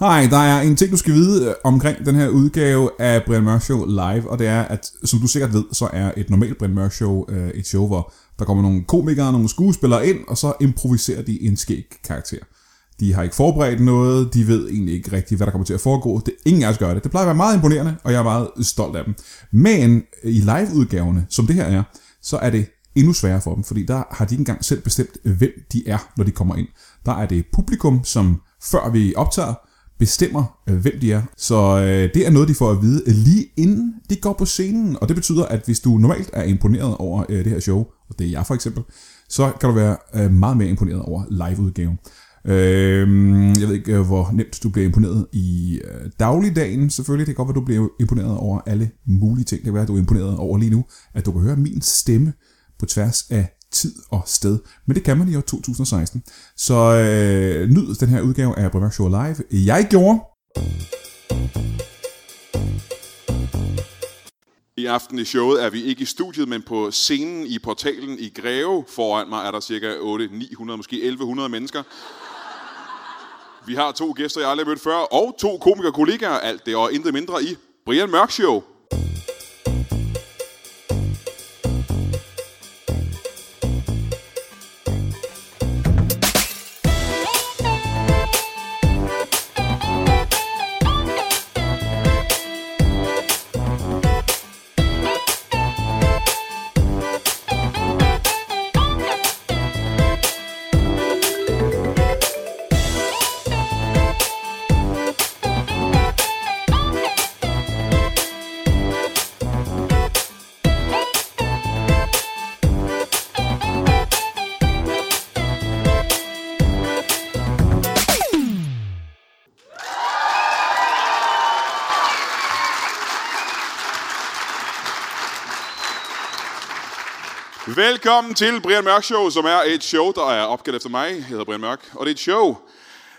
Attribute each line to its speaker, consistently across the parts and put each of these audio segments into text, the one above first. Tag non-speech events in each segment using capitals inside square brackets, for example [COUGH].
Speaker 1: Hej, der er en ting, du skal vide øh, omkring den her udgave af Brian Mørk Show live, og det er, at som du sikkert ved, så er et normalt Brian Mørk Show øh, et show, hvor der kommer nogle komikere, nogle skuespillere ind, og så improviserer de en skæg karakter. De har ikke forberedt noget, de ved egentlig ikke rigtigt, hvad der kommer til at foregå. Det, ingen af os gør det. Det plejer at være meget imponerende, og jeg er meget stolt af dem. Men øh, i live-udgaverne, som det her er, så er det endnu sværere for dem, fordi der har de ikke engang selv bestemt, hvem de er, når de kommer ind. Der er det publikum, som før vi optager, bestemmer, øh, hvem de er. Så øh, det er noget, de får at vide øh, lige inden de går på scenen. Og det betyder, at hvis du normalt er imponeret over øh, det her show, og det er jeg for eksempel, så kan du være øh, meget mere imponeret over liveudgaven. Øh, jeg ved ikke, øh, hvor nemt du bliver imponeret i øh, dagligdagen selvfølgelig. Det kan godt være, du bliver imponeret over alle mulige ting. Det kan være, du er imponeret over lige nu, at du kan høre min stemme på tværs af tid og sted. Men det kan man i år 2016. Så øh, nyd den her udgave af Brevær Show Live. Jeg gjorde...
Speaker 2: I aften i showet er vi ikke i studiet, men på scenen i portalen i Greve. Foran mig er der cirka 8, 900, måske 1100 mennesker. Vi har to gæster, jeg aldrig har mødt før, og to komikere kollegaer. Alt det og intet mindre i Brian Mørk Show. Velkommen til Brian Mørk Show, som er et show, der er opkaldt efter mig. Jeg hedder Brian Mørk, og det er et show.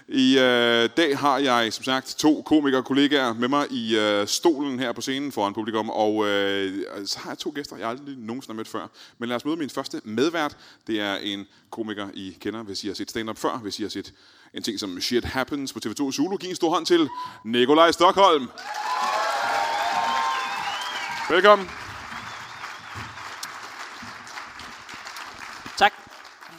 Speaker 2: I øh, dag har jeg som sagt to komikere kollegaer med mig i øh, stolen her på scenen foran publikum, og øh, så har jeg to gæster, jeg aldrig nogensinde har mødt før. Men lad os møde min første medvært. Det er en komiker, I kender, hvis I har set stand-up før, hvis I har set en ting som Shit Happens på TV2 Zulu. Giv en stor hånd til Nikolaj Stockholm. Velkommen.
Speaker 3: Tak.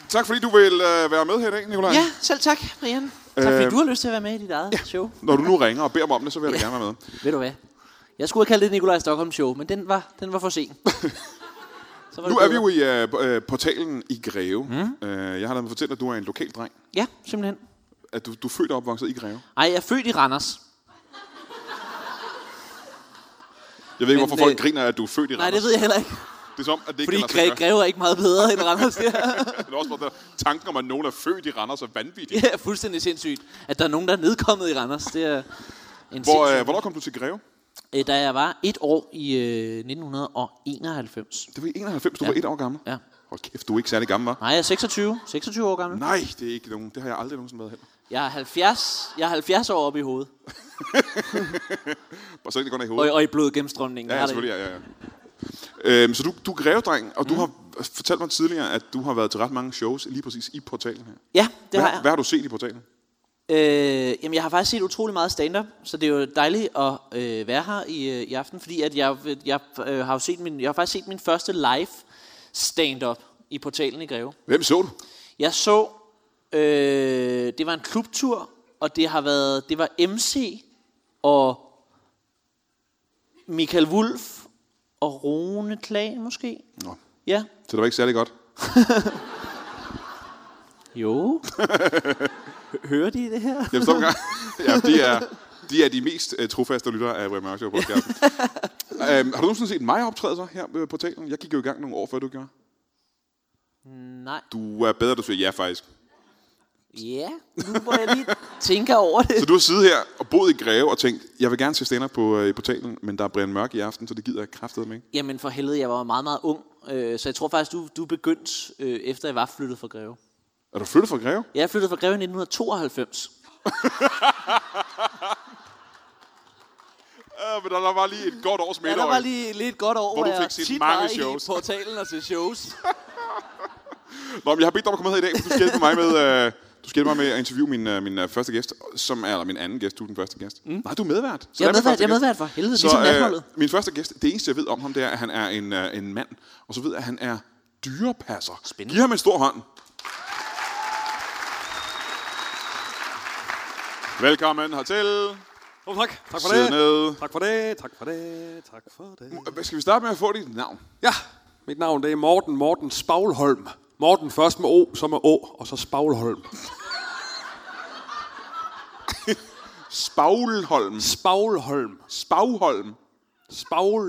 Speaker 2: Tak fordi du vil øh, være med her i dag, Nikolaj.
Speaker 3: Ja, selv tak, Brian. Tak fordi du har lyst til at være med i dit eget ja. show.
Speaker 2: Når du nu ringer og beder mig om det, så vil jeg da gerne være med.
Speaker 3: Ved du hvad? Jeg skulle have kaldt det Nikolaj Stockholm Show, men den var, den var for sen. Så var
Speaker 2: Nu er vi jo i øh, p- øh, portalen i Greve. Mm. Øh, jeg har da fortalt, at du er en lokal dreng.
Speaker 3: Ja, simpelthen.
Speaker 2: At du, du er født og opvokset i Greve.
Speaker 3: Ej, jeg er født i Randers.
Speaker 2: Jeg ved ikke,
Speaker 3: Men,
Speaker 2: hvorfor folk
Speaker 3: øh,
Speaker 2: griner, at du er født i
Speaker 3: Nej,
Speaker 2: Randers.
Speaker 3: det ved jeg heller ikke.
Speaker 2: det er som, om, at det ikke
Speaker 3: Fordi
Speaker 2: kan lade sig
Speaker 3: Gre-
Speaker 2: gøre.
Speaker 3: Greve er ikke meget bedre end Randers. Det er-
Speaker 2: [LAUGHS] Det er også bare der tanken om, at nogen er født i Randers er vanvittig.
Speaker 3: [LAUGHS] det er fuldstændig sindssygt, at der er nogen, der er nedkommet i Randers. Det er en
Speaker 2: Hvor, øh,
Speaker 3: sindssyg-
Speaker 2: hvornår kom du til Greve?
Speaker 3: Øh, Da jeg var et år i øh, 1991.
Speaker 2: Det var i 91, du ja. var et år gammel.
Speaker 3: Ja.
Speaker 2: Hold kæft, du er ikke særlig gammel, var?
Speaker 3: Nej, jeg er 26, 26 år gammel.
Speaker 2: Nej, det er ikke nogen. Det har jeg aldrig nogensinde været heller.
Speaker 3: Jeg er 70, jeg er 70 år oppe i hovedet.
Speaker 2: Bare så ikke det går ned i hovedet.
Speaker 3: Og, og i blodgennemstrømningen.
Speaker 2: Ja,
Speaker 3: Jeg
Speaker 2: ja
Speaker 3: har det-
Speaker 2: selvfølgelig. Ja, ja, ja. Øhm, så du, du er grevedreng, og du
Speaker 3: Mm.
Speaker 2: har fortalt mig tidligere, at du har været til ret mange shows lige præcis i portalen her.
Speaker 3: Ja, det
Speaker 2: Hvad,
Speaker 3: har jeg.
Speaker 2: hvad har du set i portalen?
Speaker 3: Øh, jamen, jeg har faktisk set utrolig meget stand-up, så det er jo dejligt at øh, være her i, øh, i aften, fordi at jeg, jeg, øh, har jo set min, jeg har faktisk set min første live stand-up i portalen i Greve.
Speaker 2: Hvem så du?
Speaker 3: Jeg så, øh, det var en klubtur, og det har været, det var MC og Michael Wulf og Rune Klag måske.
Speaker 2: Nå,
Speaker 3: Ja,
Speaker 2: så det var ikke særlig godt.
Speaker 3: jo. Hø- [LAUGHS] Hører de det her?
Speaker 2: Jeg forstår [LAUGHS] ikke engang. ja, de er, de er de mest uh, trofaste lyttere af Brian Mørk Show [LAUGHS] podcasten. øhm, har du nogensinde set mig optræde så her på portalen? Jeg gik jo i gang nogle år før du gjorde.
Speaker 3: Nej.
Speaker 2: Du er bedre, du siger ja faktisk.
Speaker 3: Ja, nu må jeg lige tænke over det.
Speaker 2: Så du har siddet her og boet i Greve og tænkt, jeg vil gerne se stand på øh, i portalen, men der er Brian Mørk i aften, så det gider jeg kraftedeme ikke.
Speaker 3: [LAUGHS] Jamen for helvede, jeg var meget, meget ung. Øh, så jeg tror faktisk, du, du begyndte, øh, efter jeg var flyttet fra Greve.
Speaker 2: Er du flyttet fra Greve?
Speaker 3: Jeg er flyttet fra Greve i 1992.
Speaker 2: Ja, Øh, men der, der var lige et godt års
Speaker 3: Ja,
Speaker 2: middag.
Speaker 3: der var lige lidt godt over,
Speaker 2: Hvor du
Speaker 3: jeg
Speaker 2: fik set
Speaker 3: tit
Speaker 2: mange
Speaker 3: var
Speaker 2: shows.
Speaker 3: i portalen og til shows.
Speaker 2: Nå, men jeg har bedt dig om at komme med i dag, for du skal hjælpe mig med, øh, du skal hjælpe mig med at interviewe min, øh, min øh, første gæst, som er eller min anden gæst, du er den første gæst. Mm. Nej, du er medvært. Så
Speaker 3: Jeg
Speaker 2: er
Speaker 3: er
Speaker 2: min
Speaker 3: medvært,
Speaker 2: første
Speaker 3: jeg er
Speaker 2: gæst.
Speaker 3: medvært for helvede, så,
Speaker 2: Så,
Speaker 3: ligesom natholdet.
Speaker 2: øh, min første gæst, det eneste jeg ved om ham, det er, at han er en, øh, en mand. Og så ved jeg, at han er dyrepasser.
Speaker 3: Spændende.
Speaker 2: Giv ham en stor hånd. Velkommen hertil.
Speaker 4: Jo, tak. Tak for
Speaker 2: Sid
Speaker 4: det.
Speaker 2: ned.
Speaker 4: Tak for det. Tak for det. Tak for det.
Speaker 2: Hvad Skal vi starte med at få dit navn?
Speaker 4: Ja, mit navn det er Morten Morten Spaglholm. Morten først med O, så med Å, og så Spaglholm.
Speaker 2: Spaulholm.
Speaker 4: Spaglholm.
Speaker 2: Spagholm.
Speaker 4: Spaglholm.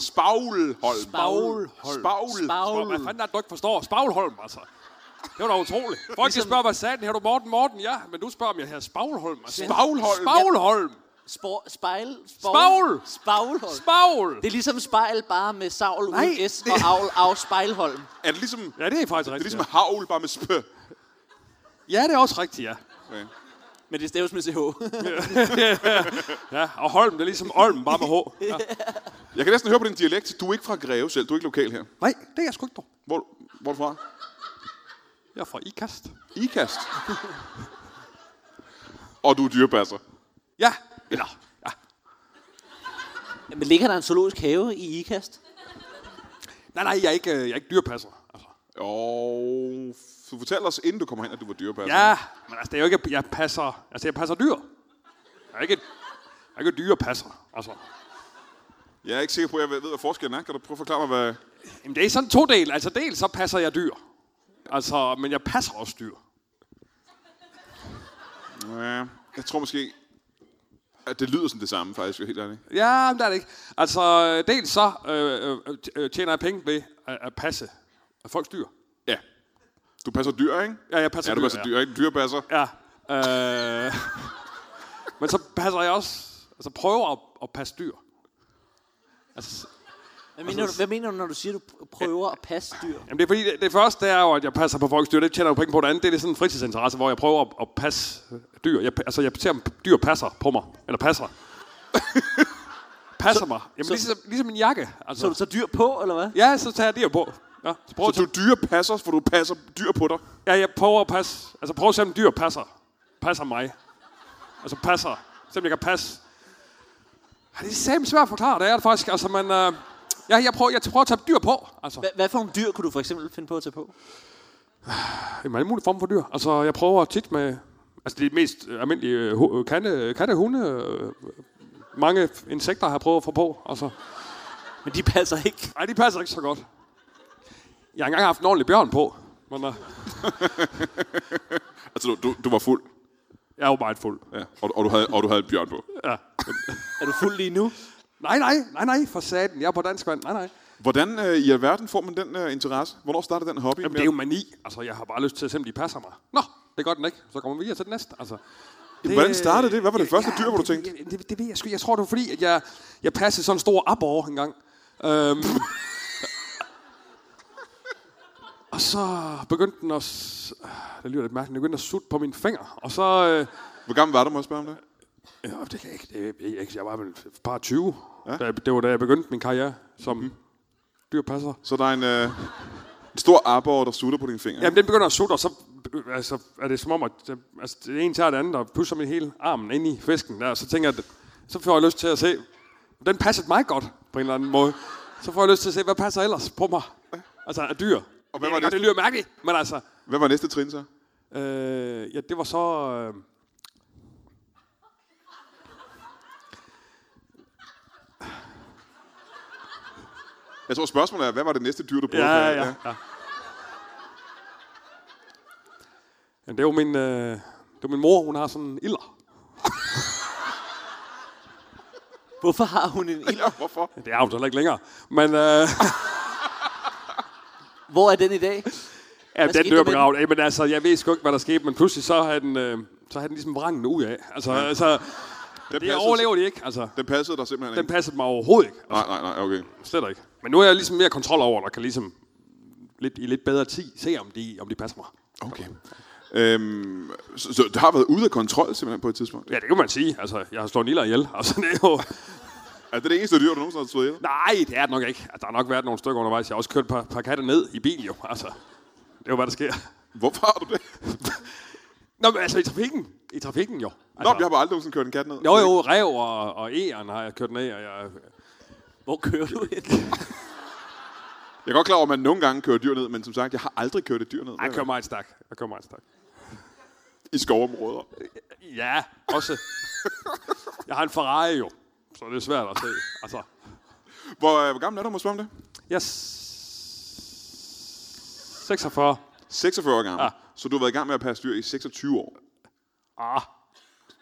Speaker 2: Spaulholm.
Speaker 4: Spaglholm.
Speaker 2: Spaul.
Speaker 3: Spaul.
Speaker 4: Hvad fanden er det, du ikke forstår? Spaglholm, altså. Det var da utroligt. Folk ligesom... spørger, hvad sagde den? Her du Morten Morten? Ja, men du spørger, om jeg hedder Spaglholm. Altså.
Speaker 2: Spaglholm.
Speaker 4: Spaglholm.
Speaker 3: Spor, spejl, spor,
Speaker 4: Spavl.
Speaker 3: Spavlholm.
Speaker 4: Spagl.
Speaker 3: Det er ligesom spejl, bare med savl uden
Speaker 4: Nej,
Speaker 3: S og avl af spejlholm.
Speaker 2: Er det ligesom, det
Speaker 4: Ja, det er faktisk
Speaker 2: er
Speaker 4: rigtigt.
Speaker 2: ligesom havl, bare med spø?
Speaker 4: Ja, det er også rigtigt, ja.
Speaker 3: Men det staves med CH.
Speaker 4: Ja, og Holm, det er ligesom Olm, bare med H. Ja.
Speaker 2: Jeg kan næsten høre på din dialekt. Du er ikke fra Greve selv. Du er ikke lokal her.
Speaker 4: Nej, det er jeg sgu ikke, dog.
Speaker 2: Hvor, hvor er du fra?
Speaker 4: Jeg er fra Ikast.
Speaker 2: Ikast. [LAUGHS] Og du er dyrepasser.
Speaker 4: Ja, eller... Ja.
Speaker 3: [LAUGHS] Men ligger der en zoologisk have i Ikast?
Speaker 4: Nej, nej, jeg er ikke, øh, jeg er ikke dyrepasser. Altså.
Speaker 2: Og du fortalte os, inden du kom hen, at du var dyrepasser.
Speaker 4: Ja, men altså, det er jo ikke, jeg passer... Altså, jeg passer dyr. Jeg er ikke, jeg er ikke dyrepasser. Altså.
Speaker 2: Jeg er ikke sikker på, at jeg ved, hvad forskellen er. Kan du prøve at forklare mig, hvad...
Speaker 4: Jamen, det er sådan to dele. Altså, dels så passer jeg dyr. Altså, men jeg passer også dyr.
Speaker 2: Ja, jeg tror måske, at det lyder som det samme, faktisk. Helt ærligt.
Speaker 4: Ja, men det er det ikke. Altså, øh, dels så øh, øh, t- øh, tjener jeg penge ved at, at passe folks dyr.
Speaker 2: Ja. Du passer dyr, ikke?
Speaker 4: Ja, jeg passer
Speaker 2: ja, du
Speaker 4: dyr,
Speaker 2: passer dyr, ikke? Dyrepasser.
Speaker 4: Ja. Øh, [LAUGHS] men så passer jeg også... Altså, prøver at, at passe dyr. Altså,
Speaker 3: Hvad mener, du, hvad mener du, når du siger, at du prøver at passe dyr?
Speaker 4: Jamen det er fordi, det, det første det er jo, at jeg passer på folks dyr. Det tjener jeg jo penge på. Det andet, det er sådan en fritidsinteresse, hvor jeg prøver at, at passe dyr. Jeg, altså, jeg ser, om dyr passer på mig. Eller passer. passer så, mig. Jamen,
Speaker 3: så-
Speaker 4: så, ligesom, ligesom en jakke. Altså.
Speaker 3: Så du
Speaker 4: Så,
Speaker 3: tager dyr på, eller hvad?
Speaker 4: ja, så tager jeg dyr på. Ja, så prøver,
Speaker 2: Så
Speaker 4: så
Speaker 2: du dyrepasser, for du passer dyr på dig.
Speaker 4: ja, jeg prøver at passe. Altså, prøver at se, om dyr passer. Passer mig. Altså, passer. Se, om jeg kan passe. Ja, det er simpelthen svært at forklare. Det er det faktisk. Altså, men... Øh, ja, jeg prøver, jeg prøver at tage dyr på. Altså.
Speaker 3: Hva- Hvad for en dyr kunne du for eksempel finde på at tage på?
Speaker 4: Jamen, alle mulige former for dyr. Altså, jeg prøver tit med... Altså, det er mest øh, almindelige øh, hu- øh, katte, katte hunde. Øh, mange f- insekter har jeg prøvet at få på. Altså,
Speaker 3: Men de passer ikke.
Speaker 4: nej, de passer ikke så godt. Jeg har engang haft en ordentlig bjørn på. Men øh,
Speaker 2: Altså, du, du, du var fuld.
Speaker 4: jeg er jo meget fuld.
Speaker 2: Ja. Og, du- og, du havde, og du havde en bjørn på.
Speaker 3: Er du fuld lige nu?
Speaker 4: Nej, nej, nej, nej, for satan. Jeg er på dansk vand. Nej, nej.
Speaker 2: Hvordan øh, i alverden får man den øh, interesse? Hvornår starter den hobby?
Speaker 4: Jamen, det er jo mani. Altså, jeg har bare lyst til at se, om de passer mig. Nå, det gør den ikke. Så kommer vi videre til den næste. Altså, det,
Speaker 2: hvordan startede det? Hvad var det første dyr, hvor du
Speaker 4: det-
Speaker 2: tænkte?
Speaker 4: ja, Det, det, ved jeg sgu. Jeg tror, det var fordi, at jeg, jeg passede sådan en stor abor en gang.
Speaker 2: [LAUGHS]
Speaker 4: Øhm, og så begyndte den at... s- Det lyder lidt mærkeligt. Den begyndte at sutte på mine fingre. Og så... Øh,
Speaker 2: Hvor gammel var du, må jeg spørge om det?
Speaker 4: ja, det kan jeg ikke. Det, ved jeg, ikke. jeg var vel et par 20. Ja? Da, jeg- det var da jeg begyndte min karriere som
Speaker 2: Mhm.
Speaker 4: mm. dyrpasser.
Speaker 2: Så der er en, øh, en stor arbor, der sutter på dine fingre.
Speaker 4: Jamen, den begynder at sutte, og så øh, altså, er det som om, at øh, altså, det ene tager det andet, og pusser min hele armen ind i fisken der, og så tænker jeg, at- så får jeg lyst til at se, den passede mig godt på en eller anden måde. Så får jeg lyst til at se, hvad passer ellers på mig? Altså, af dyr.
Speaker 2: Og hvad var
Speaker 4: det?
Speaker 2: det?
Speaker 4: Det lyder mærkeligt, men altså,
Speaker 2: Hvad var næste trin så?
Speaker 4: øh, ja, det var så... Øh,
Speaker 2: Jeg tror, spørgsmålet er, hvad var det næste dyr, du brugte?
Speaker 4: ja, ja, ja. ja. Jamen, det er jo min, øh, det er min mor, hun har sådan en ilder.
Speaker 3: Hvorfor har hun en ild?
Speaker 2: ja hvorfor?
Speaker 4: Det er hun så heller ikke længere. Men øh,
Speaker 3: Hvor er den i dag?
Speaker 4: Ja,
Speaker 3: skete
Speaker 4: den
Speaker 3: der
Speaker 4: dør
Speaker 3: med
Speaker 4: begravet. Jamen altså, jeg ved sgu ikke, hvad der skete, men pludselig så havde den, øh, så havde den ligesom vrangen ud af. Altså, ja. altså
Speaker 2: Den
Speaker 4: det overlever de ikke. Altså,
Speaker 2: Den passede dig simpelthen
Speaker 4: den
Speaker 2: ikke?
Speaker 4: passede mig overhovedet ikke.
Speaker 2: Nej, nej, nej, okay.
Speaker 4: Slet ikke. Men nu er jeg ligesom mere kontrol over, det, og kan ligesom lidt, i lidt bedre tid se, om de, om de passer mig.
Speaker 2: Okay. Øhm, så, så det har været ude af kontrol simpelthen på et tidspunkt?
Speaker 4: Ja, det kan man sige. Altså, jeg har slået en ilder ihjel. Altså, det er jo...
Speaker 2: Er det det eneste dyr, du nogensinde har slået ihjel?
Speaker 4: Nej, det er det nok ikke. Altså, Der har nok været nogle stykker undervejs. Jeg har også kørt et par, par katte ned i bil, jo. Altså, det er jo, hvad der sker.
Speaker 2: Hvorfor har du det?
Speaker 4: Nå, men altså i trafikken. i trafikken, jo.
Speaker 2: Nå, men jeg har bare aldrig nogensinde kørt en kat ned.
Speaker 4: Altså- Jo, jo, rev og, og æren har jeg kørt ned, og jeg...
Speaker 3: Hvor kører du hen?
Speaker 2: Jeg er godt klar over, at man nogle gange kører dyr ned, men som sagt, jeg har aldrig kørt et dyr ned.
Speaker 4: Jeg kører meget stærk. Jeg kører meget stærk.
Speaker 2: I skovområder.
Speaker 4: Ja, også. Jeg har en Ferrari jo, så det er svært at se. Altså,
Speaker 2: Hvor, øh, hvor gammel er du, må jeg spørge om det?
Speaker 4: jeg... er s- 46.
Speaker 2: 46 år gammel.
Speaker 4: Ja.
Speaker 2: Så du har været i gang med at passe dyr i 26 år.
Speaker 4: Ah,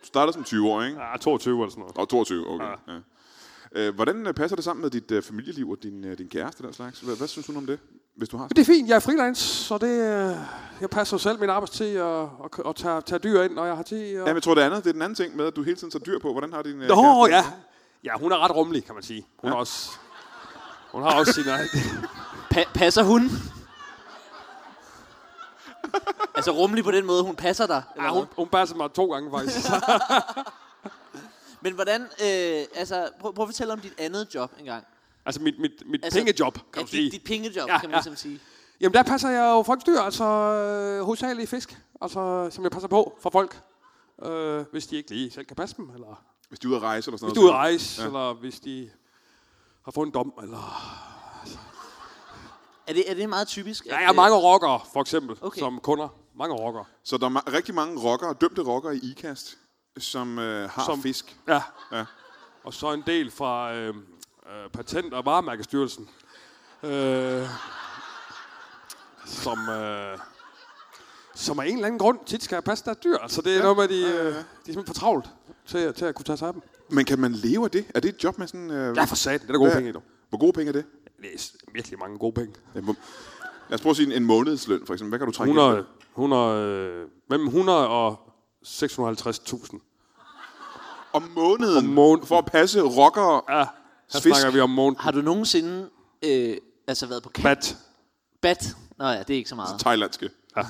Speaker 2: Du startede som 20 år, ikke?
Speaker 4: jeg er 22 eller sådan noget.
Speaker 2: Og 22, okay.
Speaker 4: Ah.
Speaker 2: Ja. Øh, hvordan øh, passer det sammen med dit øh, familieliv og din, øh, din kæreste og den slags? Hvad, hvad synes hun om det, hvis du har
Speaker 4: Det er fint, jeg er freelance, så det, øh, jeg passer selv min arbejdstid og, og, og tager, tager dyr ind, når jeg har tid. Og...
Speaker 2: Ja, men jeg tror det andet, det er den anden ting med, at du hele tiden tager dyr på. Hvordan har din... øh,
Speaker 4: Nå,
Speaker 2: kæreste-
Speaker 4: ja. Ja, hun er ret rummelig, kan man sige. Hun, ja. er også, hun har også sine...
Speaker 3: Pa- passer hun? altså rummelig på den måde, hun passer dig? Eller
Speaker 4: Ja,
Speaker 3: hvad?
Speaker 4: Ah, hun, hun passer mig to gange faktisk.
Speaker 3: [LAUGHS] Men hvordan, øh, altså, prøv, prøv at fortælle om dit andet job engang.
Speaker 4: altså mit, mit, mit
Speaker 3: Altså,
Speaker 4: altså, pengejob, kan
Speaker 3: ja,
Speaker 4: man sige.
Speaker 3: Dit, dit pengejob, ja,
Speaker 4: Ja,
Speaker 3: kan man
Speaker 4: ja.
Speaker 3: ligesom sige.
Speaker 4: Jamen der passer jeg jo folks dyr, altså øh, hovedsageligt fisk, altså, som jeg passer på for folk. Øh, hvis de ikke lige selv kan passe dem, eller
Speaker 2: Hvis du er ude at rejse eller sådan
Speaker 4: hvis du er
Speaker 2: noget.
Speaker 4: ude at rejse, ja. eller hvis de har fået en dom, eller...
Speaker 3: Er det, er det meget typisk?
Speaker 4: Der er mange rockere, for eksempel,
Speaker 3: Okay.
Speaker 4: okay. som kunder. Mange rockere.
Speaker 2: Så der er ma- rigtig mange rockere, dømte rockere i IKAST, som øh, har som...
Speaker 4: Som-
Speaker 2: fisk.
Speaker 4: Ja.
Speaker 2: Ja.
Speaker 4: Og så en del fra øh, øh, Patent- og Varemærkestyrelsen. Øh, som, øh, som af en eller anden grund tit skal passe deres dyr. Altså det er ja, noget med, at de, øh, de er simpelthen for travlt til, at- til at kunne tage sig af dem.
Speaker 2: Men kan man leve af det? Er det et job med sådan... Øh,
Speaker 4: Ja, for satan. Det er der gode
Speaker 2: hvad-
Speaker 4: penge i, dog.
Speaker 2: Hvor gode penge er det?
Speaker 4: Det er s- virkelig mange gode penge.
Speaker 2: Ja, hvor... Lad os prøve at sige en, en månedsløn, for eksempel. Hvad kan du trække?
Speaker 4: 100,
Speaker 2: ind
Speaker 4: 100, øh, mellem 100 og 650.000.
Speaker 2: på? Om måneden, om måneden.
Speaker 4: måneden.
Speaker 2: For at passe rockere.
Speaker 4: Ja, her
Speaker 2: Fisk.
Speaker 4: snakker vi om måneden.
Speaker 3: Har du nogensinde øh, altså været på kat?
Speaker 4: Bat.
Speaker 3: Bat? Nå ja, det er ikke så meget.
Speaker 2: Thailandske.
Speaker 4: Ja.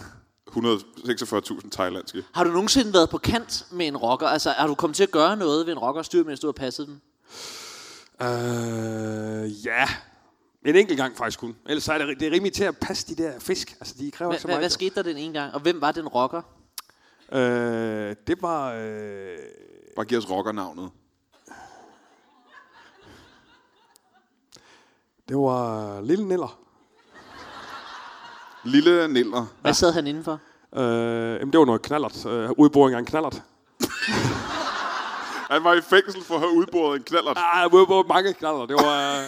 Speaker 2: 146.000 thailandske.
Speaker 3: Har du nogensinde været på kant med en rocker? Altså, har du kommet til at gøre noget ved en rockers dyr, mens du har passet dem?
Speaker 4: Øh, ja. En enkelt gang faktisk kun. Ellers så er det, det er rimelig til at passe de der fisk. Altså, de kræver ikke så
Speaker 3: Hvad,
Speaker 4: meget.
Speaker 3: hvad skete der den ene gang? Og hvem var den rocker?
Speaker 4: Øh, det var... Øh,
Speaker 2: Bare giv os rockernavnet.
Speaker 4: det var øh, Lille Niller.
Speaker 2: Lille Niller.
Speaker 3: Hvad sad han indenfor?
Speaker 4: Øh, jamen, det var noget knallert. Øh, udboring af en knallert.
Speaker 2: Han var i fængsel for at have udboret en knallert.
Speaker 4: Ah, jeg var ude på mange knaller. Det var øh,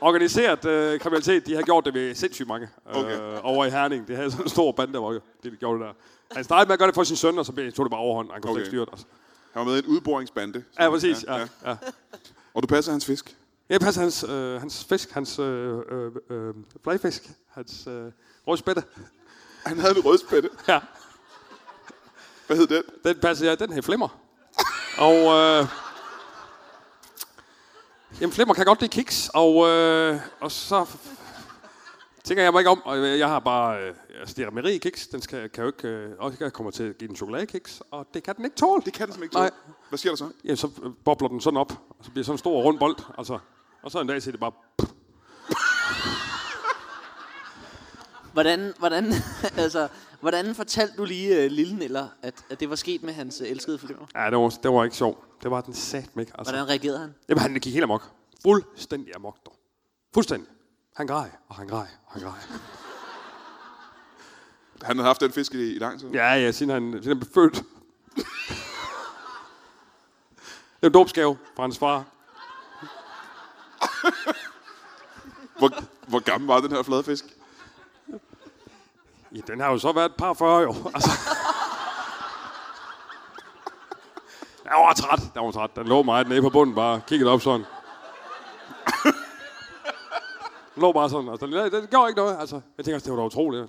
Speaker 4: organiseret øh, kriminalitet. De har gjort det ved sindssygt mange. Øh,
Speaker 2: Okay.
Speaker 4: Over i Herning. Det havde sådan en stor bande, der var jo. Det de gjorde det der. Han startede med at gøre det for sin søn, og så blev- tog det bare overhånd. Han kunne
Speaker 2: Okay.
Speaker 4: okay. styre det. Altså.
Speaker 2: Han var med i en udboringsbande.
Speaker 4: Ja, præcis. Ja, ja. ja.
Speaker 2: Og du passer hans fisk.
Speaker 4: Jeg passer hans, øh, hans fisk, hans øh, øh, øh, bladfisk, hans øh, rødspætte.
Speaker 2: Han havde en rødspætte.
Speaker 4: Ja.
Speaker 2: Hvad hed den?
Speaker 4: Den passer jeg, den her flimmer. Og øh, jamen, flimmer kan godt lide kiks, og, øh, og så tænker jeg mig ikke om, og jeg har bare, øh, altså det er Marie kiks, den skal, kan jo ikke, øh, og jeg kommer til at give den chokoladekiks, og det kan den ikke tåle.
Speaker 2: Det kan den simpelthen
Speaker 4: Nej.
Speaker 2: ikke tåle. Hvad sker der så?
Speaker 4: Ja, så øh, bobler den sådan op, og så bliver sådan en stor rund bold, og så, og så en dag siger det bare,
Speaker 3: Hvordan, hvordan, [LAUGHS] altså, hvordan fortalte du lige uh, Lille Niller, at, at det var sket med hans uh, elskede flyver?
Speaker 4: ja, det var, det var ikke sjovt. Det var den sat ikke. Altså.
Speaker 3: Hvordan reagerede han?
Speaker 4: Jamen, han gik helt amok. Fuldstændig amok, dog. Fuldstændig. Han græd, og han græd, og han græd.
Speaker 2: Han havde haft den fisk i, i lang tid.
Speaker 4: Ja, ja, siden han, siden han blev født. [LAUGHS] det var en dåbsgave fra hans far.
Speaker 2: Hvor, hvor gammel var den her flade fisk?
Speaker 4: Ja, den har jo så været et par 40 jo. [LAUGHS] Altså. Jeg var træt. Jeg var træt. Den lå meget nede på bunden, bare kiggede op sådan. Den lå bare sådan. Altså, den, den gjorde ikke noget. Altså, jeg tænker også, det var da utroligt.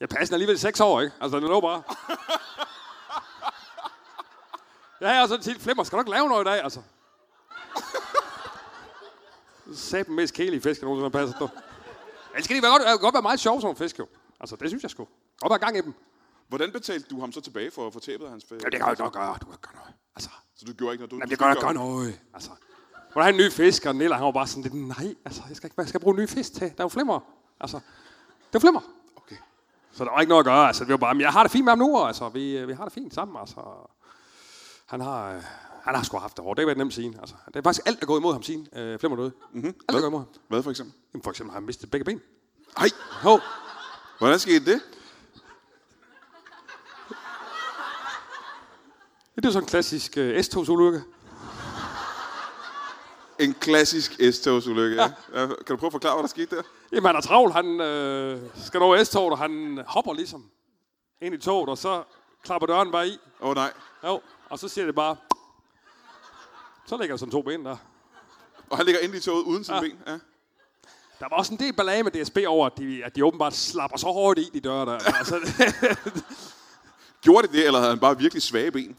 Speaker 4: Jeg passede den alligevel i seks år, ikke? Altså, den lå bare. Jeg har sådan tit flimmer. Skal du ikke lave noget i dag, altså? Sæt den mest kælige fisk, jeg nogensinde har passet på. Ja, det skal de være godt, godt være meget sjov som fisk, jo. Altså, det synes jeg sgu. Godt være gang i dem.
Speaker 2: Hvordan betalte du ham så tilbage for, for tabet af hans fisk?
Speaker 4: Jamen, det kan jeg jo ikke gøre. Du kan ikke gøre noget. Altså,
Speaker 2: Så du gjorde ikke noget? Du,
Speaker 4: jamen, det gør jeg gøre noget. Altså, hvor der er en ny fisk, og Nilla, han var bare sådan lidt, nej, altså, jeg skal, ikke, hvad skal jeg bruge en ny fisk til? Der er jo flimmer. Altså, det er jo flimmer.
Speaker 2: Okay.
Speaker 4: Så der var ikke noget at gøre. Altså, det var bare, men jeg har det fint med ham nu, og altså, vi, vi har det fint sammen, altså. Han har, øh, han har sgu haft det hårdt. Det har været nemt siden. Altså, det er faktisk alt, der går imod ham siden. Øh, Flemmer døde. Mm-hmm. Alt, der går imod ham.
Speaker 2: Hvad for eksempel?
Speaker 4: Jamen, for eksempel har han mistet begge ben.
Speaker 2: Ej,
Speaker 4: Hov.
Speaker 2: hvordan skete det?
Speaker 4: Det er jo sådan en klassisk øh, S-togsulykke.
Speaker 2: En klassisk S-togsulykke, ja. ja. Kan du prøve at forklare, hvad der skete der?
Speaker 4: Jamen, han er travl. Han øh, skal over S-toget, og han hopper ligesom ind i toget, og så klapper døren bare i.
Speaker 2: Åh oh, nej.
Speaker 4: Jo, og så siger det bare... Så ligger der sådan to ben der.
Speaker 2: Og han ligger inde i toget uden sin ja. ben. Ja.
Speaker 4: Der var også en del ballade med DSB over, at de, at de åbenbart slapper så hårdt i de døre der. Altså,
Speaker 2: Gjorde det det, eller havde han bare virkelig svage ben?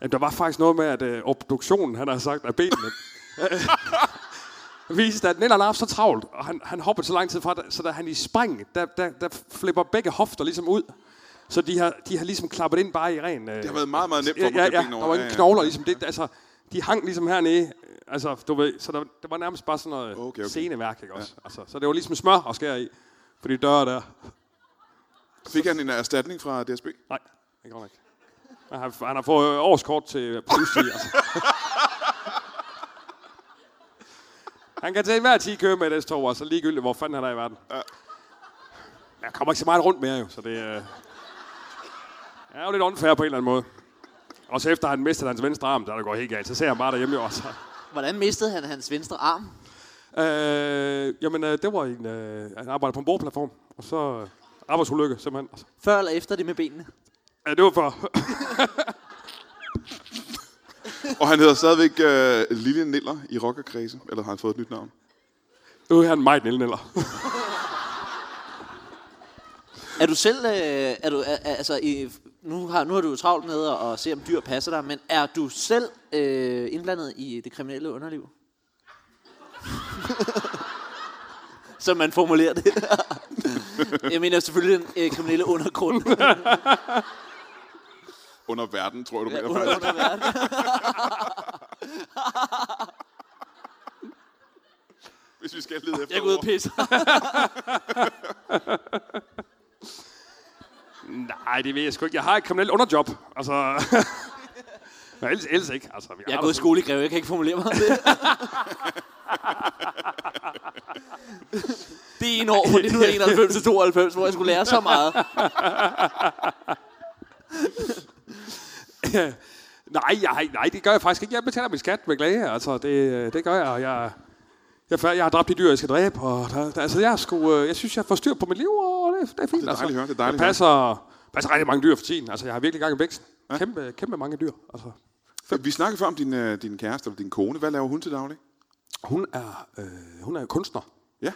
Speaker 4: Jamen, der var faktisk noget med, at øh, obduktionen, han har sagt, af benene, øh, [LAUGHS] viste, at Nell har så travlt, og han, han hoppede så lang tid fra, det, så da han i spring, der, der, der flipper begge hofter ligesom ud. Så de har, de har ligesom klappet ind bare i ren... Øh, det
Speaker 2: har været meget, meget nemt for
Speaker 4: ja,
Speaker 2: dem at
Speaker 4: ja,
Speaker 2: klippe
Speaker 4: ja,
Speaker 2: benene
Speaker 4: der
Speaker 2: over.
Speaker 4: var
Speaker 2: Ja,
Speaker 4: ingen
Speaker 2: ja.
Speaker 4: knogler ligesom. Det, altså, de hang ligesom hernede. øh, Altså, du ved, så der, der var nærmest bare sådan noget
Speaker 2: Okay,
Speaker 4: okay,
Speaker 2: okay.
Speaker 4: okay. sceneværk, ikke også? Ja. Altså, så det var ligesom smør at skære i, for de døre der.
Speaker 2: Fik han en erstatning fra DSB?
Speaker 4: Nej, det går ikke. Han har, han har fået årskort til pludselig, altså. Han kan til enhver tid køre med det tog, altså ligegyldigt, hvor fanden han er i verden. Ja. Jeg kommer ikke så meget rundt mere jo, så det øh, er jo lidt unfair på en eller anden måde. Også efter han mistede hans venstre arm, der, der går helt galt, så ser han bare derhjemme jo altså. også.
Speaker 3: Hvordan mistede han hans venstre arm?
Speaker 4: Øh, jamen, øh, det var en, øh, han arbejder på en boreplatform, og så øh, arbejdsulykke simpelthen. Altså.
Speaker 3: Før eller efter det med benene?
Speaker 4: Ja, det var for,
Speaker 2: Og han hedder stadigvæk øh, Lille Niller i rockerkredse. Eller har han fået et nyt navn?
Speaker 4: [COUGHS] nu er han meget nælden eller.
Speaker 3: Er du selv, øh, er du, er, er- altså, i, nu, har, nu har du jo travlt med at, at se, om dyr passer dig, men er du selv øh, indblandet i det kriminelle underliv? [LAUGHS] Som man formulerer det. [LAUGHS] jeg mener selvfølgelig den øh, kriminelle undergrund.
Speaker 2: Under verden, tror jeg, du ja,
Speaker 3: Ja,
Speaker 2: mener.
Speaker 3: under,
Speaker 2: faktisk.
Speaker 3: underverden.
Speaker 2: Hvis vi skal lede efter
Speaker 3: jeg går ud og
Speaker 2: ord.
Speaker 3: pisser.
Speaker 4: Nej, det ved jeg sgu ikke. Jeg har et kriminelt underjob. Altså... [LAUGHS] Men ellers, ellers ikke. Altså, vi
Speaker 3: Jeg er
Speaker 4: har da
Speaker 3: gået i
Speaker 4: sådan-
Speaker 3: skole i Greve, jeg kan ikke formulere [LAUGHS] mig om det. det er en år fra 1991 til 92, hvor jeg skulle lære så meget.
Speaker 4: [LAUGHS] Nej, jeg, har ikke- nej, det gør jeg faktisk ikke. Jeg betaler min skat med glæde. Altså, det, øh, det gør jeg. og Jeg, jeg, jeg, jeg har dræbt de dyr, jeg skal dræbe. Og der, der, altså, jeg, er sgu, øh, jeg synes, jeg får styr på mit liv, og det, det er fint.
Speaker 2: Det er dejligt
Speaker 4: altså.
Speaker 2: at høre, det er dejligt at
Speaker 4: jeg
Speaker 2: høre.
Speaker 4: passer, passer rigtig mange dyr for tiden. Altså, jeg har virkelig gang i væksten. Ja. Kæmpe, kæmpe mange dyr. Altså.
Speaker 2: Vi snakkede før om din, øh, din kæreste eller din kone. Hvad laver hun til daglig?
Speaker 4: Hun er, øh, hun er kunstner.
Speaker 2: Ja,